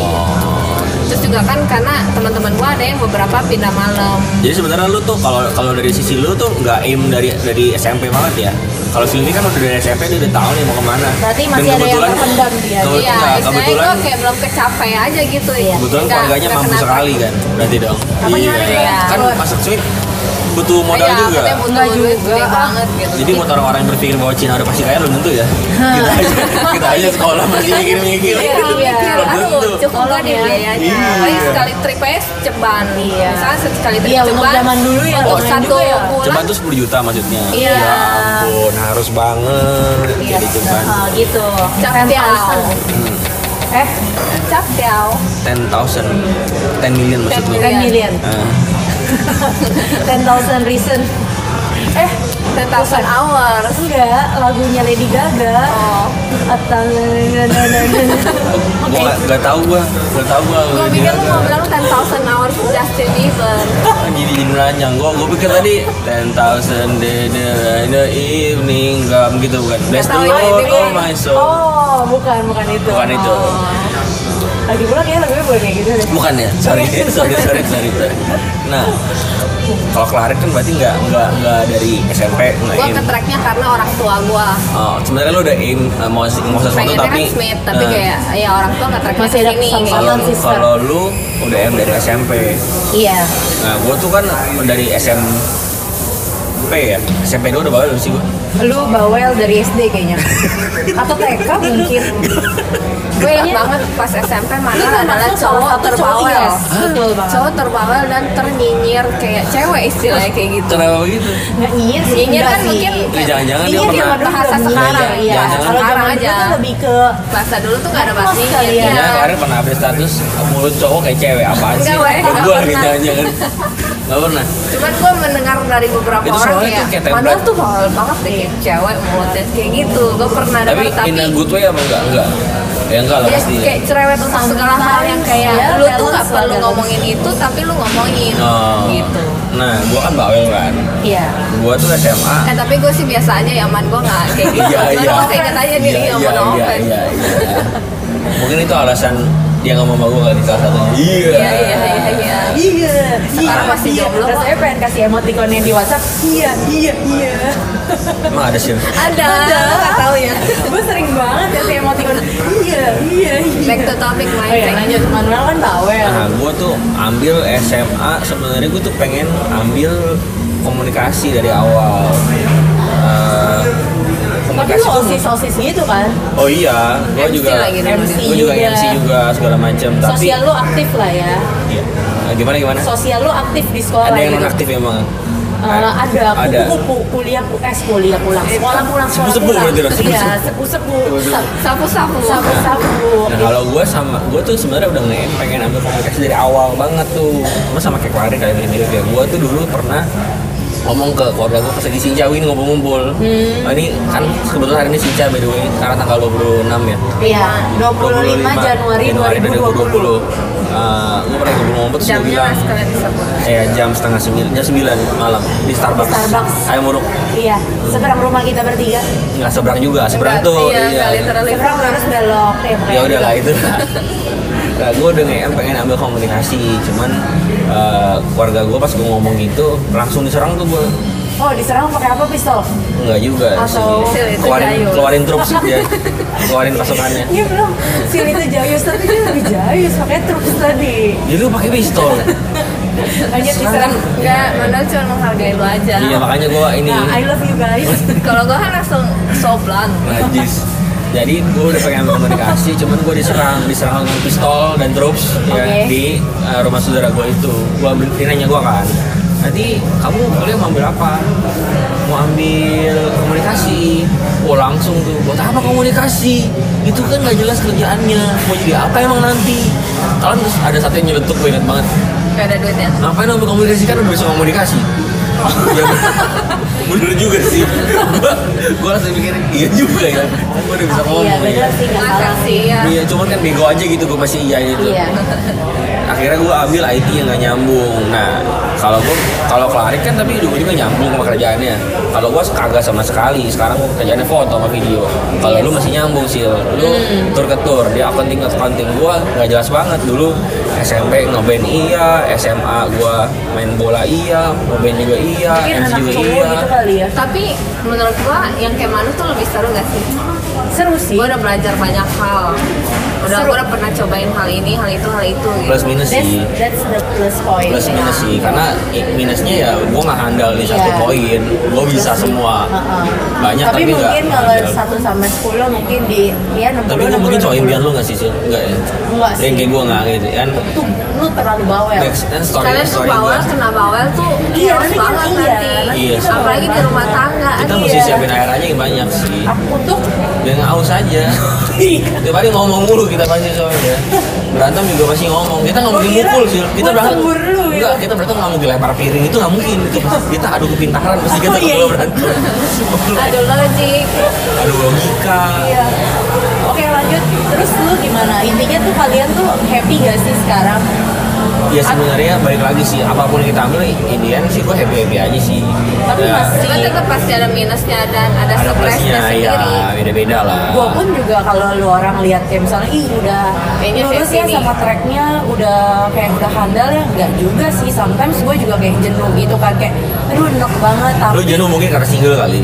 S1: Oh.
S3: terus juga kan karena teman-teman gua ada yang beberapa pindah malam
S1: Jadi sebenarnya lu tuh kalau kalau dari sisi lu tuh nggak aim dari dari SMP banget ya. Kalau Silvi kan udah dari SMP dia udah tahu nih mau kemana.
S2: Berarti
S1: Dan
S2: masih ada yang
S1: kebetulan-
S2: terpendam dia.
S1: Kebetulan,
S3: Iya,
S1: nah,
S3: istilahnya
S1: kebetulan
S3: gue kayak belum kecapai aja gitu ya.
S1: kebetulan
S3: Nggak-
S1: keluarganya
S3: nggak
S1: mampu
S3: kenapa.
S1: sekali kan. Berarti dong.
S2: Apa gimana,
S3: Iya.
S1: Kan masuk sweet butuh modal
S3: Iya,
S1: juga.
S3: katanya butuh
S2: Nggak
S3: duit
S2: juga,
S3: gede
S2: ah.
S3: banget gitu.
S1: Jadi buat orang-orang yang berpikir bahwa Cina udah pasti kaya belum
S3: *laughs*
S1: tentu ya. Kita aja, kita aja sekolah masih mikir-mikir.
S3: Iya,
S2: Iya,
S3: mikir,
S1: Belum
S3: aduh
S1: tentu.
S3: cukup gak
S2: Tolong
S3: deh
S2: ya.
S3: biayanya
S1: Iya.
S3: Paling sekali trip aja ceban
S2: Iya.
S3: Misalnya sekali trip
S2: Iya,
S3: ceban
S2: untuk zaman dulu ya,
S3: Untuk
S2: lumayan
S3: satu
S2: juga ya.
S1: Ceban
S3: bulan
S1: tuh 10 juta maksudnya.
S3: Iya.
S1: Ya ampun, harus banget jadi ceban.
S2: Ah, gitu.
S3: Cap
S2: Ten
S3: tiao.
S2: thousand. Eh,
S3: Cap tiao
S1: 10,000 10 million maksud lu.
S2: 10 million.
S1: Ah.
S2: 10,000 reason. Eh,
S3: 10,000 hours
S2: enggak lagunya Lady Gaga.
S3: Oh
S2: Atau
S1: Gua nggak nggak tahu gua, nggak tahu gua.
S3: Gue
S1: Lady
S3: pikir lu
S1: Gaga.
S3: mau bilang lu 10,000 hours Justin Bieber
S1: Ah, Jadi jadi meranjang. Gua gua pikir tadi 10,000 day day in the evening gam gitu bukan. Bless the
S3: tahu, ya,
S1: Lord,
S3: ini-
S1: oh my soul.
S2: Oh, bukan bukan itu. Oh.
S1: Bukan itu.
S2: Lagi pula kayaknya lagunya boleh kayak gitu deh.
S1: Bukan ya? Sorry, *laughs* sorry, sorry, sorry. sorry. Nah, kalau Klaret kan berarti nggak nggak nggak dari SMP nggak
S3: Gue
S1: aim.
S3: ke tracknya karena orang tua gue
S1: Oh, sebenarnya lo udah aim eh, mau mau sesuatu
S3: pengennya
S1: tapi
S3: kan Smith tapi
S1: eh,
S3: kayak ya orang tua nggak terkait
S2: Masih ada
S3: sini
S2: kesamaan.
S1: kalau
S2: Sama sister.
S1: kalau lu udah aim dari SMP.
S2: Iya.
S1: Nah, gua tuh kan dari SMP ya. SMP dulu udah bawel sih gua.
S2: Lu bawel dari SD kayaknya. Atau TK mungkin.
S3: gue ingat banget pas SMP
S2: kan
S3: Manel adalah cowok terbawel
S2: Yes, betul banget.
S3: cowok terbawel dan ternyinyir kayak cewek istilahnya kayak gitu
S1: Kenapa begitu?
S2: Nggak nyinyir sih.
S3: nyinyir
S2: enggak
S3: kan
S2: sih.
S3: mungkin
S1: Ya, jangan-jangan dia
S3: nyinyir
S1: pernah-
S3: cuma bahasa
S2: Iya,
S3: sekarang
S2: Iya,
S1: Jangan.
S3: bahasa
S2: kalau
S3: sekarang
S2: zaman dulu
S3: aja
S2: tuh lebih ke
S3: bahasa dulu tuh nggak ada bahasa
S2: Mas
S3: nyinyir
S2: kali ya.
S1: Jangan
S3: Iya.
S1: kemarin pernah update status mulut cowok kayak cewek apaan sih?
S3: Enggak, weh.
S1: Berdua
S3: Enggak
S1: gitu
S3: pernah.
S1: aja kan. Enggak pernah.
S3: cuman gue mendengar dari beberapa
S1: Itu
S3: orang
S1: soalnya
S3: kayak
S1: tuh kayak template.
S3: Manel tuh bawel banget deh kayak cewek mulutnya kayak gitu gue pernah
S1: Tapi,
S3: dengar tapi
S1: in a good way apa enggak? Enggak. Ya enggak lah
S3: Ya,
S1: pasti.
S3: kayak cerewet untuk segala hal yang kayak
S2: Ya,
S3: lu tuh gak
S2: balance lah,
S3: perlu
S2: balance.
S3: ngomongin itu tapi lu ngomongin
S1: Oh.
S3: gitu
S1: Nah, gua kan bawel kan.
S2: Iya.
S1: Gua tuh SMA
S3: Eh tapi gue sih biasa aja ya man, gue gak kayak gitu
S1: Iya,
S3: Cuman
S1: iya.
S3: gue keinget aja diri
S1: Iya,
S3: gak
S1: iya,
S3: mau
S1: iya,
S3: offense
S1: iya, iya. Mungkin itu alasan dia nggak mau sama gue kali salah satunya iya
S3: Iya, iya, iya, iya.
S2: Iya.
S3: Sekarang masih jomblo kok.
S2: Rasanya pengen kasih emoticon yang di WhatsApp. Iya, iya, iya. *laughs*
S1: emang ada sih
S3: Ada, nggak tahu ya.
S2: Gue sering banget kasih emoticon. Iya, iya, iya.
S3: Back to topic
S2: Oh iya,
S3: mindset.
S2: lanjut. Manuel kan bawel.
S1: Nah, gue tuh ambil SMA sebenarnya gue tuh pengen ambil komunikasi dari awal. Eh,
S2: Tapi
S1: komunikasi
S2: lu
S1: tuh-
S2: osis-osis gitu kan?
S1: Oh iya, gue
S3: MC
S1: juga
S3: lagi namanya.
S1: gue juga
S2: Iya.
S1: MC juga segala macam. Tapi
S2: Sosial lu aktif lah ya.
S1: Iya. Nah, gimana gimana?
S2: Sosial lu aktif di sekolah
S1: Ada yang
S2: gitu.
S1: non aktif emang.
S2: Eh, ada Eh,
S1: Ada.
S2: kupu-kupu kuliah es kuliah pulang sekolah pulang sekolah
S1: Sepu-sepu
S2: pulang
S1: berarti dong,
S2: iya
S1: sepu-sepu.
S2: sepu-sepu
S1: Sepu-sepu.
S3: Sapu-sapu.
S2: sapu-sapu
S1: Nah kalau gue sama gue tuh sebenarnya udah nge pengen ambil komunikasi dari awal banget tuh. Cuma sama kayak Klari kayak mirip ya. Gue tuh dulu pernah ngomong ke keluarga gue pas lagi Sinjawin ngumpul-ngumpul. Nah, ini kan kebetulan hari ini Sinca by the way karena tanggal 26 ya.
S2: iya 25 Januari 2020
S1: Uh, gue pernah ngumpul-ngumpul terus gue
S3: Jamnya
S1: bilang
S3: nggak sekalian disebut.
S1: eh jam setengah sembilan jam sembilan malam di Starbucks.
S2: Starbucks.
S1: Ayam muruk
S2: iya seberang rumah kita bertiga
S1: nggak seberang juga seberang
S3: Nggak-
S1: tuh.
S3: Iya, nggak literally.
S2: seberang harus belok ya
S1: ya udah lah itu nah, gue udah nge-em pengen ambil komunikasi cuman eh, keluarga gue pas gue ngomong gitu langsung diserang tuh gue
S2: oh diserang pakai apa pistol
S1: enggak juga
S2: Atau-
S1: sih.
S3: Itu
S1: keluarin
S3: jayus.
S1: keluarin truk sih dia keluarin pasukannya
S2: Iya belum, si itu jayus, tapi dia lebih jayus, makanya truk tadi
S1: jadi lu pakai pistol
S3: Iya,
S2: Lanjut diserang
S3: Enggak, Manuel cuma menghargai lu aja.
S1: iya makanya gue ini
S2: Nah, I love you guys
S3: Kalau gue kan langsung so blunt.
S1: najis jadi gue udah pengen ambil komunikasi cuman gue diserang diserang dengan pistol dan troops ya,
S2: Oke.
S1: di eh, rumah saudara gue itu gue dia nanya gue kan nanti kamu kuliah mau ambil apa mau ambil komunikasi Oh langsung tuh buat apa komunikasi itu kan nggak jelas kerjaannya mau jadi apa emang nanti kalian terus ada satu yang nyeletuk gue inget banget
S3: Gak ada ya. duitnya.
S1: ngapain ambil komunikasi kan udah bisa komunikasi *laughs* Ya, bener juga sih gue langsung mikir iya juga ya kan gue udah bisa ngomong
S2: Iya,
S1: ya.
S2: bener sih, gak
S3: Masa
S2: salah
S3: sih ya.
S1: Iya, cuman kan bego aja gitu gue masih iya itu.
S2: Iya,
S1: Akhirnya gue ambil IT yang gak nyambung. Nah, kalau gue kalau Klarik kan tapi juga juga nyambung sama kerjaannya. Kalau gue kagak sama sekali. Sekarang gue kerjaannya foto sama video. Kalau lu masih nyambung sih, lu
S2: Hmm.
S1: tur ke tur. Dia accounting accounting gue nggak jelas banget dulu. SMP ngeband iya, SMA gue main bola iya, ngeband juga iya,
S2: mungkin
S1: MC
S2: anak
S1: juga
S2: cowok
S1: iya.
S2: gitu kali ya
S3: Tapi menurut gue yang kayak Manu tuh lebih seru gak sih?
S2: Seru sih
S3: Gue udah belajar banyak hal. Udah
S2: Seru.
S3: gue udah pernah cobain hal ini, hal itu, hal itu. Gitu.
S1: Plus minus
S2: That's,
S1: sih.
S2: that's the plus point.
S1: plus minus sih karena i- minusnya ya gue nggak handal di satu
S2: Iya.
S1: poin gue bisa semua
S2: Heeh.
S1: banyak
S2: Ah,
S1: tapi,
S2: tapi,
S1: nggak
S2: mungkin kalau
S1: handal.
S2: 1 sama 10 mungkin di ya 60
S1: tapi lu
S2: 60,
S1: mungkin
S2: 60.
S1: soal impian lu nggak sih sih nggak ya
S2: Nggak sih.
S1: Yang kayak gue nggak gitu kan
S2: Tuh, lu terlalu bawel.
S1: next kan story
S3: Kalian tuh
S1: story
S3: bawel,
S1: gua.
S3: kena bawel tuh
S2: Iya,
S3: chaos
S2: nanti kan
S3: banget
S2: iya,
S3: nanti.
S2: nanti
S1: Iya.
S2: kita
S3: Apalagi di
S2: bawel
S3: rumah
S2: banget.
S3: tangga.
S1: kita ya.
S3: aduh,
S2: ya.
S1: mesti
S3: iya.
S1: siapin air aja yang banyak sih
S2: Aku tuh
S1: *laughs* biar nggak aus aja tiap hari ngomong mulu kita pasti soalnya berantem juga pasti ngomong kita nggak
S2: Gua
S1: mungkin
S2: kira
S1: mukul sih kita
S2: gua cembur lu gitu.
S1: nggak kita berantem nggak mungkin lempar piring itu nggak mungkin itu pasti kita adu kepintaran pasti kita
S2: Oh, iya,
S1: kalau
S2: iya.
S1: berantem
S3: Aduh logik.
S1: adu logika
S2: iya. Oke, lanjut. Terus lu gimana? Intinya tuh kalian tuh happy gak sih sekarang?
S1: Ya sebenarnya balik lagi sih apapun yang kita ambil Indian sih gue happy happy aja sih.
S2: Tapi
S1: Ya,
S2: masih-
S3: Cuma tetap pasti ada minusnya dan ada,
S1: ada
S3: stresnya
S1: plusnya ya
S3: sendiri.
S1: beda beda lah.
S2: iya. Gua pun juga kalau lu orang lihat kayak misalnya ih udah
S3: Kayaknya
S2: lurus
S3: happy
S2: ya
S3: nih.
S2: sama tracknya udah kayak udah handal ya enggak juga sih sometimes gue juga kayak jenuh gitu kan kayak aduh enak banget
S1: Lu
S2: tapi
S1: jenuh mungkin karena single
S2: Eh,
S1: kali.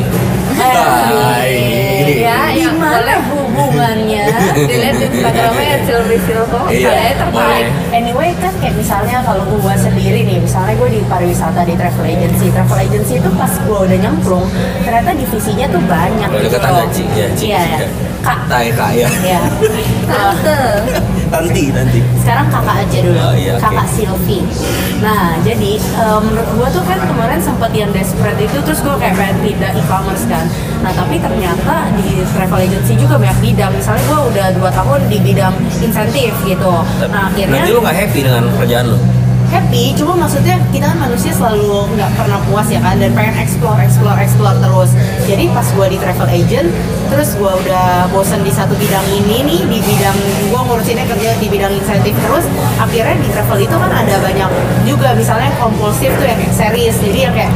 S1: Hai.
S2: iya.
S3: Ya,
S2: di
S3: yang
S2: mana
S3: boleh.
S2: hubungannya
S3: Dilihat di Instagramnya ya, Silvi Silvo,
S1: Iya,
S3: saya tertarik.
S1: boleh.
S2: Anyway kan kayak misalnya kalau gua sendiri nih, misalnya gue di pariwisata di travel agency, travel agency itu pas gua udah nyemplung, ternyata divisinya tuh banyak.
S1: Kalau
S2: gitu
S1: deketan
S2: loh.
S1: ya Ci, ya Ci.
S2: Iya, ya. kak,
S1: Tai kak ya.
S2: ya. Eh,
S3: Tante.
S1: Nanti nanti.
S2: sekarang kakak aja dulu,
S1: Oh, iya, oke.
S2: kakak Silvi. Nah jadi eh, menurut gue tuh kan kemarin sempat yang desperate itu terus gue kayak pengen pindah e-commerce kan. Nah tapi ternyata di travel agency juga banyak bidang. Misalnya gue udah dua tahun di bidang insentif gitu. Nah akhirnya
S1: Berarti lu nggak happy dengan kerjaan lu?
S2: happy cuma maksudnya kita kan manusia selalu nggak pernah puas ya kan dan pengen explore explore explore terus jadi pas gua di travel agent terus gua udah bosen di satu bidang ini nih di bidang gua ngurusinnya kerja di bidang insentif terus akhirnya di travel itu kan ada banyak juga misalnya kompulsif tuh yang series jadi yang kayak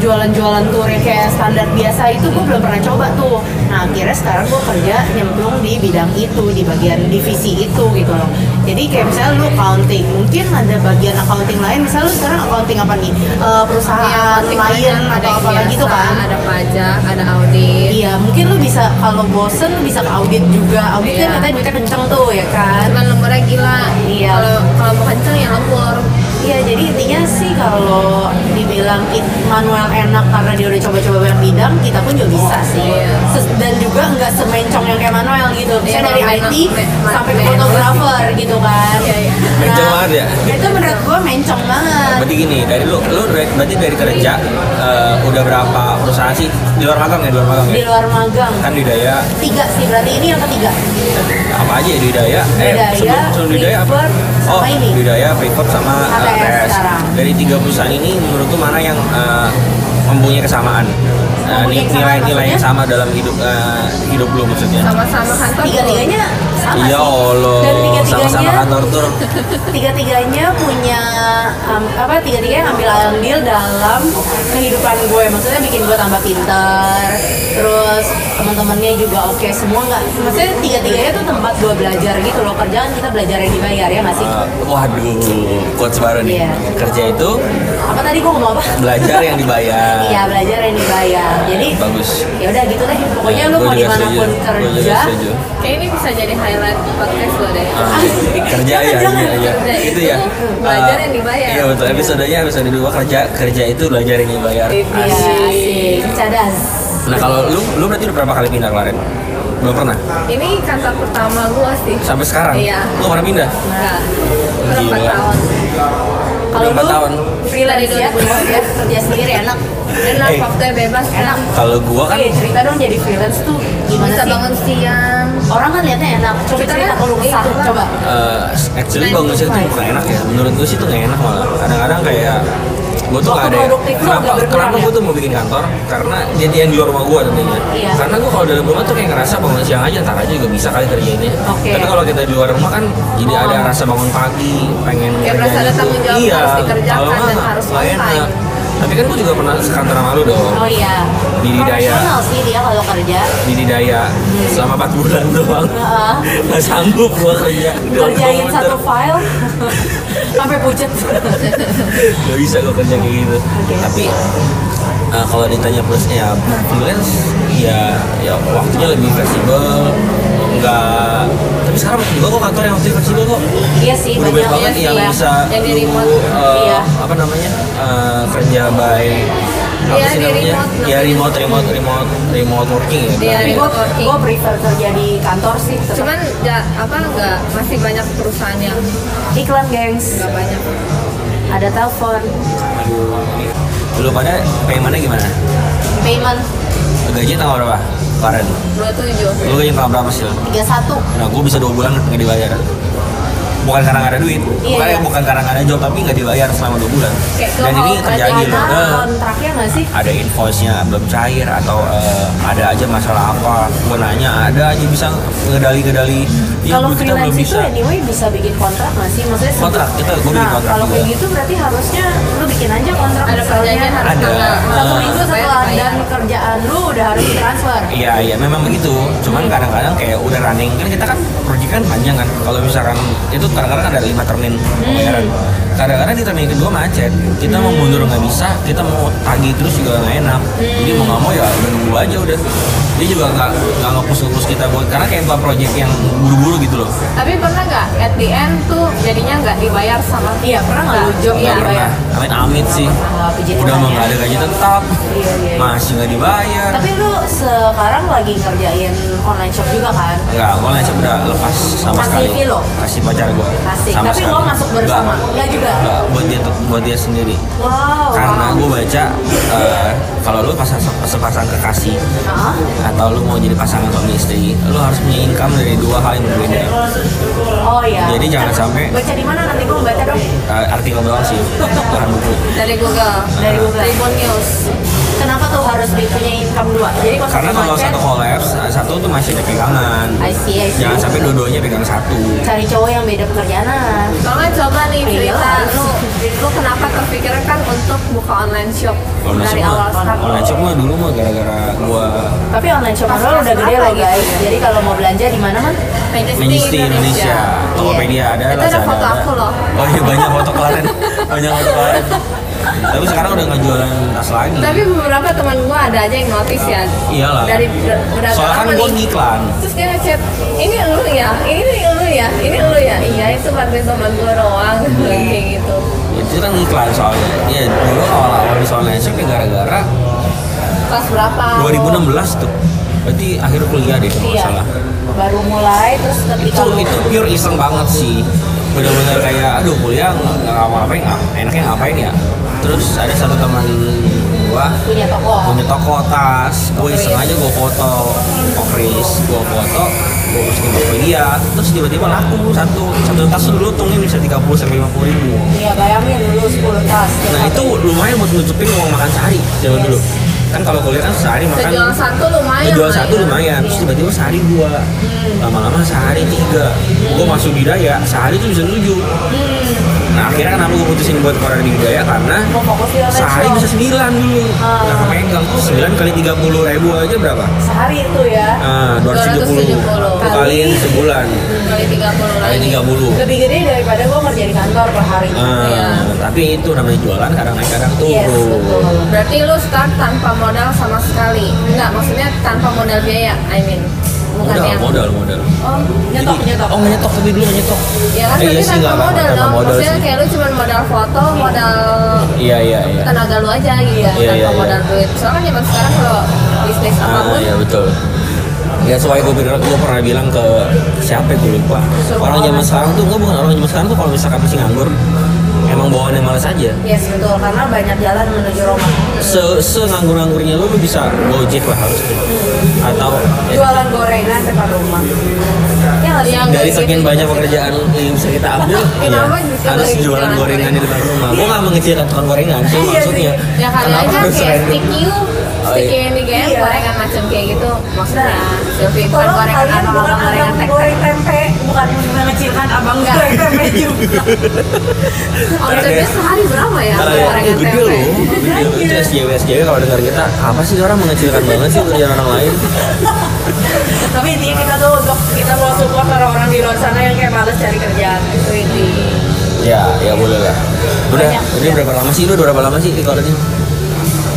S2: jualan-jualan tour yang kayak standar biasa itu gue belum pernah coba tuh nah akhirnya sekarang gue kerja nyemplung di bidang itu di bagian divisi itu gitu loh jadi kayak misalnya lu accounting mungkin ada bagian accounting lain misalnya lu sekarang accounting apa nih Eh, perusahaan
S3: Iya,
S2: klien
S3: ada
S2: atau
S3: yang
S2: apa
S3: biasa,
S2: gitu kan
S3: ada pajak ada audit
S2: Iya, mungkin lu bisa kalau bosen lu bisa ke audit juga. Audit
S3: Iya.
S2: kan katanya duitnya kenceng tuh ya kan.
S3: cuman lemburnya gila
S2: Iya.
S3: kalau kalau mau kenceng ya lembur
S2: Iya, jadi intinya sih kalau dibilang it- manual enak karena dia udah coba-coba banyak bidang, kita pun juga bisa sih.
S3: Iya.
S2: Ses- Dan juga nggak semencong yang kayak manual gitu.
S3: Iya,
S2: Misalnya dari
S3: manual-
S2: IT
S3: ma-
S2: sampai ke
S3: manual.
S2: fotografer gitu kan.
S3: Iya, iya.
S1: Mencong
S2: Nah,
S1: banget ya?
S2: Itu menurut gua mencong banget.
S1: Berarti gini, dari lu, lu re- berarti dari kerja eh, udah berapa perusahaan sih di luar magang ya, di luar magang
S2: Di
S1: ya?
S2: luar magang.
S1: Kan Didaya,
S2: Tiga sih, berarti ini yang ketiga.
S1: apa aja ya Didaya?
S2: Didaya,
S1: sebelum, sebelum Didaya apa?
S2: Freeport, sama
S1: oh,
S2: ini.
S1: Didaya, Freeport sama eh,
S2: ATS
S1: ATS.
S2: sekarang.
S1: Dari tiga perusahaan ini, menurut lu mana yang eh, mempunyai kesamaan? Eh,
S2: Mempunyai kesamaan
S1: Nilai-nilai yang
S2: maksudnya?
S1: sama dalam hidup eh, hidup lu maksudnya?
S3: sama-sama kantor
S2: Tiga-tiganya sama
S1: Ya
S2: sih.
S1: Allah,
S2: Dan
S1: sama-sama
S2: tiga-tiganya
S1: kantor tur.
S2: tiga-tiganya punya um, apa tiga-tiganya ngambil andil dalam kehidupan gue maksudnya bikin gue tambah pintar terus teman-temannya juga oke semua nggak maksudnya tiga-tiganya tuh tempat gue belajar gitu loh kerjaan kita belajar yang dibayar ya masih
S1: Eh, waduh, quotes baru nih.
S2: Iya.
S1: Kerja itu
S2: apa tadi gue ngomong apa
S1: belajar yang dibayar.
S2: iya belajar yang dibayar jadi
S1: Bagus.
S2: ya udah gitu deh pokoknya
S1: Ya,
S2: lu mau
S1: gua juga
S2: dimanapun
S1: setuju. Gua juga
S2: kerja
S1: setuju.
S3: kayak ini bisa jadi highlight podcast lo deh
S1: Ah,
S2: Asik.
S1: kerja ya,
S2: Jangan,
S1: iya, iya.
S3: Kerja
S1: itu
S3: itu
S1: ya.
S3: belajar
S1: Ah,
S3: yang dibayar.
S1: Iya betul. Episodenya episode dua kerja kerja itu belajar yang dibayar.
S2: Iya, asik. Cadas.
S1: Nah kalau lu lu berarti udah berapa kali pindah kemarin? Belum pernah.
S3: ini kantor pertama gua sih
S1: Sampai sekarang.
S3: Iya.
S1: Lu pernah pindah?
S3: enggak berapa
S1: Gila.
S3: tahun
S1: Udah
S2: Kalau
S1: empat
S2: lu
S1: tahun.
S2: freelance ya, kerja sendiri enak.
S3: enak
S1: Eh.
S3: waktunya bebas enak
S1: Kalau gua kan
S3: Iya.
S2: Oke, cerita dong jadi freelance tuh gimana
S3: bisa
S2: sih?
S3: bangun siang
S2: Orang kan liatnya enak. Coba
S3: Kita
S2: cerita
S3: kan-
S2: kalau kesah,
S3: iya,
S2: coba.
S1: eh, actually bangun siang tuh bukan enak ya. Menurut gua sih tuh nggak enak malah. Kadang-kadang kayak gua tuh
S2: Waktu
S1: nggak ada.
S2: produktif lu
S1: Kenapa,
S2: agak berkurang
S1: kenapa
S2: ya?
S1: gua tuh mau bikin kantor? Karena jadi yang di luar rumah gua tentunya.
S2: Iya.
S1: Karena gua kalau dalam rumah tuh kayak ngerasa bangun siang aja, ntar aja juga bisa kali kerjainnya.
S2: Oke.
S1: Tapi kalau kita di luar rumah kan jadi ada
S2: Oh.
S1: rasa bangun pagi, pengen
S3: Kayak merasa
S1: kerjaan
S3: ada
S1: itu.
S3: tanggung jawab
S1: iya,
S3: harus dikerjakan
S1: kalau
S3: dan
S1: nggak,
S3: harus
S1: nggak
S3: on time.
S1: enak. Tapi kan gua juga pernah sekantor sama lu dong.
S2: Oh iya.
S1: Di Hidayah.
S2: Profesional sih dia kalau kerja.
S1: Di Didaya selama 4 bulan doang.
S2: Oh. Hmm. Heeh.
S1: Nggak sanggup gua kerja.
S2: Kerjain
S1: Gua
S2: satu file
S1: *laughs*
S2: sampai pucet.
S1: Gak bisa gue kerja kayak gitu. Tapi eh, kalau ditanya plusnya ya freelance ya ya waktunya lebih fleksibel. Enggak tapi sekarang juga kok kantor yang waktunya fleksibel kok.
S2: Iya sih
S1: Udah banyak banget
S2: banyak.
S1: yang
S3: iya.
S1: bisa
S3: Yang di
S1: lu,
S3: remote.
S1: eh,
S2: Iya.
S1: apa namanya eh, kerja by apa
S3: Iya,
S1: sih
S3: di
S1: namanya?
S3: remote
S1: ya
S3: namanya.
S1: remote remote remote remote working ya.
S3: Iya,
S1: berarti.
S2: Tapi
S3: remote.
S2: gue gue prefer kerja di kantor sih. tetap.
S3: cuman ya, apa enggak masih banyak perusahaan yang
S2: iklan gengs
S3: enggak banyak
S2: ada telepon
S1: Lu pada paymentnya gimana?
S2: payment
S1: Gaji tanggal berapa? Kemarin.
S3: 27
S1: Lu gaji tanggal berapa sih? Lu?
S2: 31
S1: Nah, gue bisa dua bulan nggak dibayar. Bukan karena nggak ada duit,
S2: Iya,
S1: bukan,
S2: iya.
S1: bukan karena nggak ada job, tapi nggak dibayar selama dua bulan.
S3: Kayak
S1: Dan
S3: kalau
S1: ini
S3: kerja
S1: terjadi
S2: ada
S1: loh. Nah,
S2: kontraknya nggak sih
S1: ada invoice-nya belum cair atau eh, ada aja masalah apa gue nanya ada aja bisa ngedali-ngedali Iya,
S2: kalau
S1: kita belum
S2: freelance itu
S1: bisa
S2: anyway bisa bikin kontrak nggak sih maksudnya se-
S1: Kontrak, kita- gua bikin
S2: nah,
S1: kontrak
S2: kalau kayak
S1: juga.
S2: gitu berarti harusnya lu bikin aja kontrak
S3: ada
S2: misalnya
S3: perjanjian harus
S1: Ada.
S3: tanggal
S2: satu minggu setelah dan
S3: dan
S2: kerjaan lu udah harus transfer
S1: Iya iya memang begitu. Cuman kadang-kadang kayak udah running kan kita kan proyek kan panjang kan. Kalau misalkan itu kadang-kadang ada lima termin pembayaran.
S2: Hmm.
S1: Kadang-kadang di termin kedua macet. Kita mau mundur nggak bisa. Kita mau tagih terus juga nggak enak. Jadi mau nggak mau ya udah nunggu aja udah. Dia juga nggak nggak ngepus-ngepus kita buat karena kayak buat proyek yang buru-buru gitu loh.
S3: tapi pernah nggak at the end tuh jadinya nggak dibayar sama
S2: Iya, pernah nggak lu job
S3: iya
S1: Nggak pernah. Amit-amit sih.
S2: Nggak pijit
S1: Udah mau
S2: tangan.
S1: nggak ada gaji tetap.
S2: Iya, iya, iya.
S1: Masih nggak dibayar.
S2: tapi lu sekarang lagi ngerjain online shop juga kan
S1: Enggak, gue langsung udah lepas sama
S2: Kasih
S1: sekali.
S2: fee lo?
S1: Kasih pacar gue.
S2: Kasih. Tapi lo masuk bersama? Enggak juga? Oh.
S1: Enggak, buat dia buat dia sendiri.
S2: wow
S1: Karena gue baca eh, kalau lu pasang sepasang kekasih
S2: Hah?
S1: atau lu mau jadi pasangan suami istri, lu harus punya income dari dua hal yang berbeda.
S2: oh iya
S1: Jadi jangan sampai-
S2: baca di mana nanti gua baca dong
S1: Eh, artikel doang sih, bukan buku.
S3: dari Google
S2: dari Google
S3: Tribun News
S2: kenapa tuh harus punya income dua jadi kalau
S1: Karena
S2: satu
S1: kalau
S2: macet,
S1: satu kolaps, eh, satu tuh masih ada pegangan.
S2: I see, I see.
S1: Jangan sampai dua-duanya pegang satu.
S2: cari cowok yang beda pekerjaan
S3: Tolong coba nih cerita
S2: Iya.
S3: lu, lu kenapa kepikiran kan untuk buka online online shop
S1: online
S3: dari
S1: shop
S3: awal
S1: mah
S3: start.
S1: online shop mah dulu mah gara-gara gua
S2: Tapi online shop
S3: Pasti
S2: doang udah
S3: harus
S2: gede
S3: apa
S2: loh
S3: gitu
S2: guys.
S3: ya?
S2: Jadi kalau mau belanja di mana mah?
S3: Majesty,
S1: Majesty Indonesia, Tokopedia ada,
S3: Itu ada
S1: Lazada
S3: foto aku loh.
S1: Oh iya banyak foto kalian, banyak foto kalian. Tapi sekarang udah nggak jualan tas lagi.
S3: Tapi beberapa teman gua ada aja yang notice ya.
S1: Iyalah.
S3: Dari ber- berapa
S1: Soalnya kan
S3: lama
S1: gua
S3: nih?
S1: ngiklan.
S3: Terus dia ngechat, ini lu ya, ini lu ya, ini lu ya. Iya itu bantuin teman gua doang
S1: Iya.
S3: kayak gitu.
S1: Itu kan ngiklan soalnya. Ya dulu awal-awal di online shop ya gara-gara
S3: Oh. Kelas berapa?
S1: 2016 tuh. Berarti akhir kuliah deh kalau nggak
S2: Iya.
S1: salah.
S2: Baru mulai terus
S1: Itu
S2: ketika lu-
S1: itu pure iseng banget sih. Bener-bener kayak aduh kuliah nggak nggak ngapa-ngapain, nggak- enaknya ngapain ya. Terus ada satu teman gua
S2: punya toko.
S1: punya toko tas gue iseng aja gue foto kokris gue foto gue masukin Tokopedia terus tiba-tiba laku satu satu tas tuh dulu tunggu bisa 30 sampai 50 ribu
S2: Iya bayangin dulu 10 tas.
S1: nah itu lumayan buat nutupin uang makan sehari zaman dulu kan kalau kuliah kan sehari makan
S3: Sejual satu lumayan.
S1: jual
S3: lah
S1: satu
S3: ya.
S1: lumayan terus tiba-tiba sehari dua lama-lama sehari tiga gue masuk di daya sehari tuh bisa tujuh nah akhirnya kenapa gue putusin buat koran di daya karena
S2: Mau fokus di online
S1: sehari
S2: shop.
S1: bisa sembilan dulu nah kepegang sembilan kali tiga puluh ribu aja berapa
S2: Sehari itu ya.
S1: ah dua ratus tiga puluh
S3: 270.
S1: kaliin sebulan
S3: Kali 30
S1: kali
S3: lagi.
S1: tiga puluh
S2: Lebih gede daripada gua kerja di kantor per hari.
S3: Iya.
S1: ah tapi itu namanya jualan kadang naik kadang
S2: Yes, betul.
S1: turun
S3: Berarti lu start tanpa modal sama sekali. Enggak, maksudnya tanpa modal biaya, I mean. Bukan
S1: modal
S3: yang
S1: modal modal
S3: Oh,
S1: nyetok nyetok oh nyetok tapi dulu nyetok
S3: ya kan
S1: Eh,
S3: berarti
S1: sih,
S3: tanpa
S1: nggak apa-apa,
S3: modal
S1: tanpa
S3: dong.
S1: modal
S3: Maksudnya
S1: sih.
S3: kayak lu cuma modal foto, modal
S1: iya iya iya
S3: tenaga lu aja gitu,
S1: Iya,
S3: tanpa
S1: iya, iya.
S3: modal duit. Soalnya zaman sekarang kalau bisnis
S1: Ah,
S3: apapun
S1: iya betul. Ya soalnya gue bilang, gue pernah bilang ke siapa ya, gue lupa. Orang zaman sekarang tuh, gue bukan orang zaman sekarang tuh kalau misalkan masih nganggur, emang bawaannya malas aja.
S2: Yes betul karena banyak jalan menuju Roma.
S1: Se, se nganggur nganggurnya lu, lu bisa gojek lah harus tuh. Atau ya,
S2: Jualan gorengan depan rumah. Ya nggak sih?
S3: yang
S1: Iya, dari
S3: gitu
S1: sekian
S3: juga
S1: banyak
S3: sih.
S1: pekerjaan yang bisa kita ambil, ya,
S3: *laughs* Kenapa bisa
S1: harus
S3: lagi
S1: jualan
S3: jualan
S1: gorengan di
S3: gorengan?
S1: depan rumah. Gue nggak mengecilkan tukang gorengan, sih
S2: Iya
S1: maksudnya.
S3: Ya kali
S1: kenapa
S3: aja
S1: harus
S3: kayak
S1: random?
S3: sticky you,
S1: Oh,
S3: sticky
S1: iya.
S3: yang digayat,
S2: Iya.
S3: gorengan macam kayak gitu. Maksudnya,
S2: Nah,
S3: Sylvie, bukan
S2: Tolong
S3: gorengan
S2: kalian
S3: apa,
S2: bukan
S3: gorengan
S2: abang
S3: tek-tek.
S2: goreng tempe, bukan mengecilkan abang
S3: Enggak.
S2: goreng *laughs* tempe juga.
S3: Omsetnya sehari berapa ya?
S1: Karena
S3: gorengan
S1: itu gede
S3: tempe?
S1: loh, gede loh. Itu SJW SJW kalau dengar kita, apa sih orang mengecilkan banget sih kerjaan orang lain?
S2: Tapi intinya kita tuh untuk kita mau support orang-orang di luar sana yang kayak males cari kerjaan. Itu inti.
S1: Ya, ya boleh lah. Udah,
S2: Banyak,
S1: udah berapa lama sih? Udah berapa lama sih recordingnya?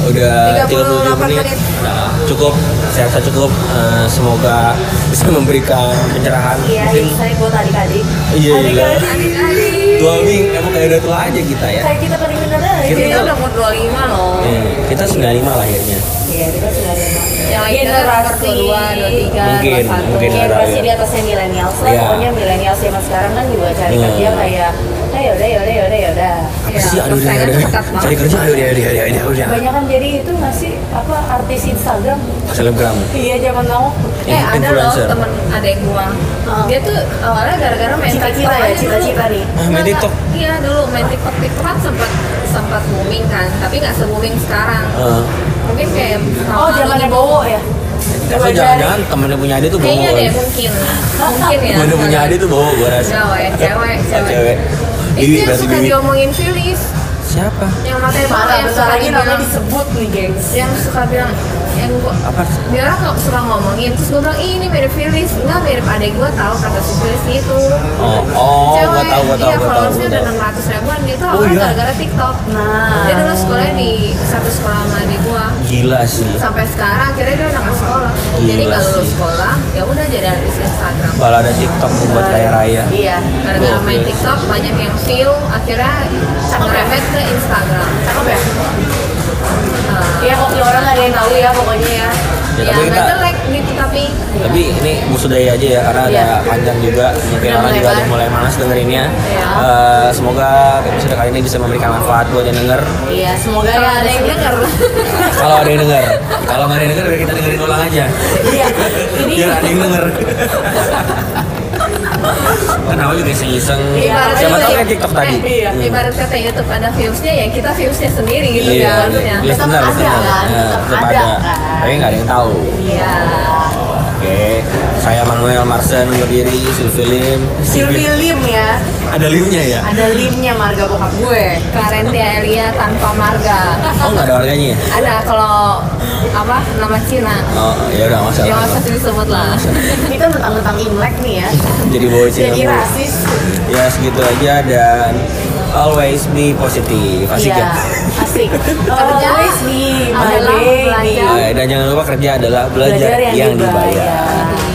S1: Udah 37 menit.
S3: 38 menit.
S1: Nah, cukup, saya rasa cukup. Eh, semoga bisa memberikan pencerahan.
S2: Iya,
S1: Mungkin
S2: saya buat adik-adik.
S1: Iya, iya.
S2: Adik-adik.
S1: tua Ming, emang kayak udah tua aja kita ya.
S2: Kayak kita paling bener aja.
S1: Kita-
S3: Kita udah umur 25 loh.
S1: Eh, kita 95 lahirnya.
S2: Iya, kita sudah ada. Iya,
S3: Yang lain
S2: Generasi.
S3: generasi 22, 23,
S1: Mungkin,
S3: 21.
S1: mungkin.
S2: Iya,
S1: ada,
S2: pasti
S1: ya.
S2: di atasnya milenial lah.
S1: Iya.
S2: Pokoknya milenial zaman sekarang kan juga cari
S1: Hmm.
S2: kerja kayak, eh yaudah, yaudah, yaudah, yaudah.
S1: Apa
S3: Iya,
S1: sih? Aduh, udah,
S3: persaingan
S1: udah, udah.
S3: ketat banget.
S1: Cari kerja, aduh, udah, udah, udah, udah, udah.
S2: Banyak kan jadi itu masih apa artis Instagram?
S1: Selebgram.
S2: Iya, zaman kamu.
S3: Eh ada loh
S1: Influencer.
S3: temen ada yang gua
S2: Oh.
S3: Dia tuh awalnya gara-gara main
S2: Cita-cita
S3: TikTok
S2: ya,
S3: aja
S2: cita-cita
S3: dulu.
S2: nih.
S1: Ah, main
S3: Nggak,
S1: TikTok.
S3: nggak. Iya dulu main TikTok TikTok sempat sempat booming kan Tapi nggak se-booming sekarang
S1: Eh,
S3: Mungkin kayak
S2: Oh,
S3: tahun
S2: zamannya
S3: lalu.
S2: Bowo ya?
S1: tapi jangan-jangan temennya punya adik tuh bohong.
S3: Kayaknya deh mungkin Mungkin ya
S1: Temennya punya adik tuh bohong, gue rasa.
S3: Cewek, cewek,
S1: Ah,
S3: cewek
S1: Cewek. Bibi,
S3: Itu yang
S1: berarti
S3: suka
S1: bibi.
S3: diomongin Phyllis
S1: Siapa?
S3: Yang matanya
S2: Parah,
S3: parah yang
S2: bentar
S3: suka
S2: lagi namanya
S3: dibilang
S2: disebut nih, gengs.
S3: Yang suka bilang Yang gua
S1: Apa?
S3: dia orang kok suka ngomongin terus gue bilang "Ih, ini mirip Phyllis enggak mirip adek gue tahu kata si Phyllis gitu
S1: Oh, oh,
S3: Cewek.
S1: gua tahu, gua tahu,
S3: iya,
S1: gua tahu,
S3: followersnya
S1: gua
S3: udah
S1: tahu.
S3: 600 ribuan dia tuh
S1: Oh,
S3: awalnya
S1: iya.
S3: gara-gara TikTok
S2: Nah.
S3: dia dulu sekolahnya di satu sekolah sama adik gue
S1: Gila sih.
S3: sampai sekarang akhirnya dia udah nggak sekolah jadi
S1: Gila
S3: nggak lulus
S1: sih.
S3: sekolah ya udah jadi artis Instagram
S1: balada TikTok buat kaya raya.
S2: Iya.
S3: gara-gara main
S1: Oke.
S3: TikTok banyak yang view akhirnya ngerembet ke Instagram
S2: Cakep ya?
S3: Nah,
S2: Iya, kok orang nggak ada yang tahu ya pokoknya ya.
S1: Ya,
S3: ya
S1: tapi
S3: nggak
S1: kita-
S3: jelek gitu tapi
S1: Tapi ini budaya aja ya karena
S2: Iya.
S1: ada panjang juga
S2: Udah
S1: mungkin orang
S2: mulai
S1: juga ada
S2: banget.
S1: yang mulai malas dengerinnya.
S2: Iya.
S1: Eh, semoga episode kali ini bisa memberikan manfaat buat yang denger.
S2: Iya, semoga ya ada yang denger.
S1: Kalau ada yang denger, kalau nggak ada yang denger biar kita dengerin ulang aja.
S2: Iya, ini
S1: Biar ada yang denger. Kenapa juga iseng-iseng?
S2: Iya,
S1: Siapa
S3: juga
S1: tahu
S3: ya.
S1: kayak TikTok tadi. Hmm.
S3: Eh, iya. Ibarat kata YouTube ada viewsnya ya kita viewsnya sendiri gitu
S1: Iya,
S3: kan maksudnya.
S1: iya,
S2: ya. Tetap
S1: benar,
S2: ada
S1: benar.
S2: kan?
S1: Ya,
S2: Tetap
S1: Tetap
S2: ada
S1: ada.
S2: kan?
S1: Tapi nggak ada yang tahu.
S2: Iya.
S1: Saya Manuel Marsen berdiri, Silvi Lim.
S2: Silvi Lim ya,
S1: Ada limnya ya?
S2: ada limnya marga bokap gue.
S3: Clarentia Elia tanpa marga.
S1: Oh nggak ada harganya ya?
S3: Ada kalau apa nama Cina.
S1: Oh ya udah nggak
S3: Yang
S1: masalah.
S3: usah disebut lah.
S1: Iya.
S2: Kita tentang-tentang Imlek nih ya.
S1: Jadi bawa Cina
S2: Jadi
S1: mulu.
S2: rasis.
S1: Ya segitu aja dan always be positive. Asik
S2: Iya,
S1: ya?
S3: *laughs*
S2: asik.
S3: Kerja
S2: Always be my
S3: adalah
S2: baby.
S3: belajar.
S2: Iya.
S1: Iya, Eh, dan jangan lupa kerja adalah belajar, yang, dibayar.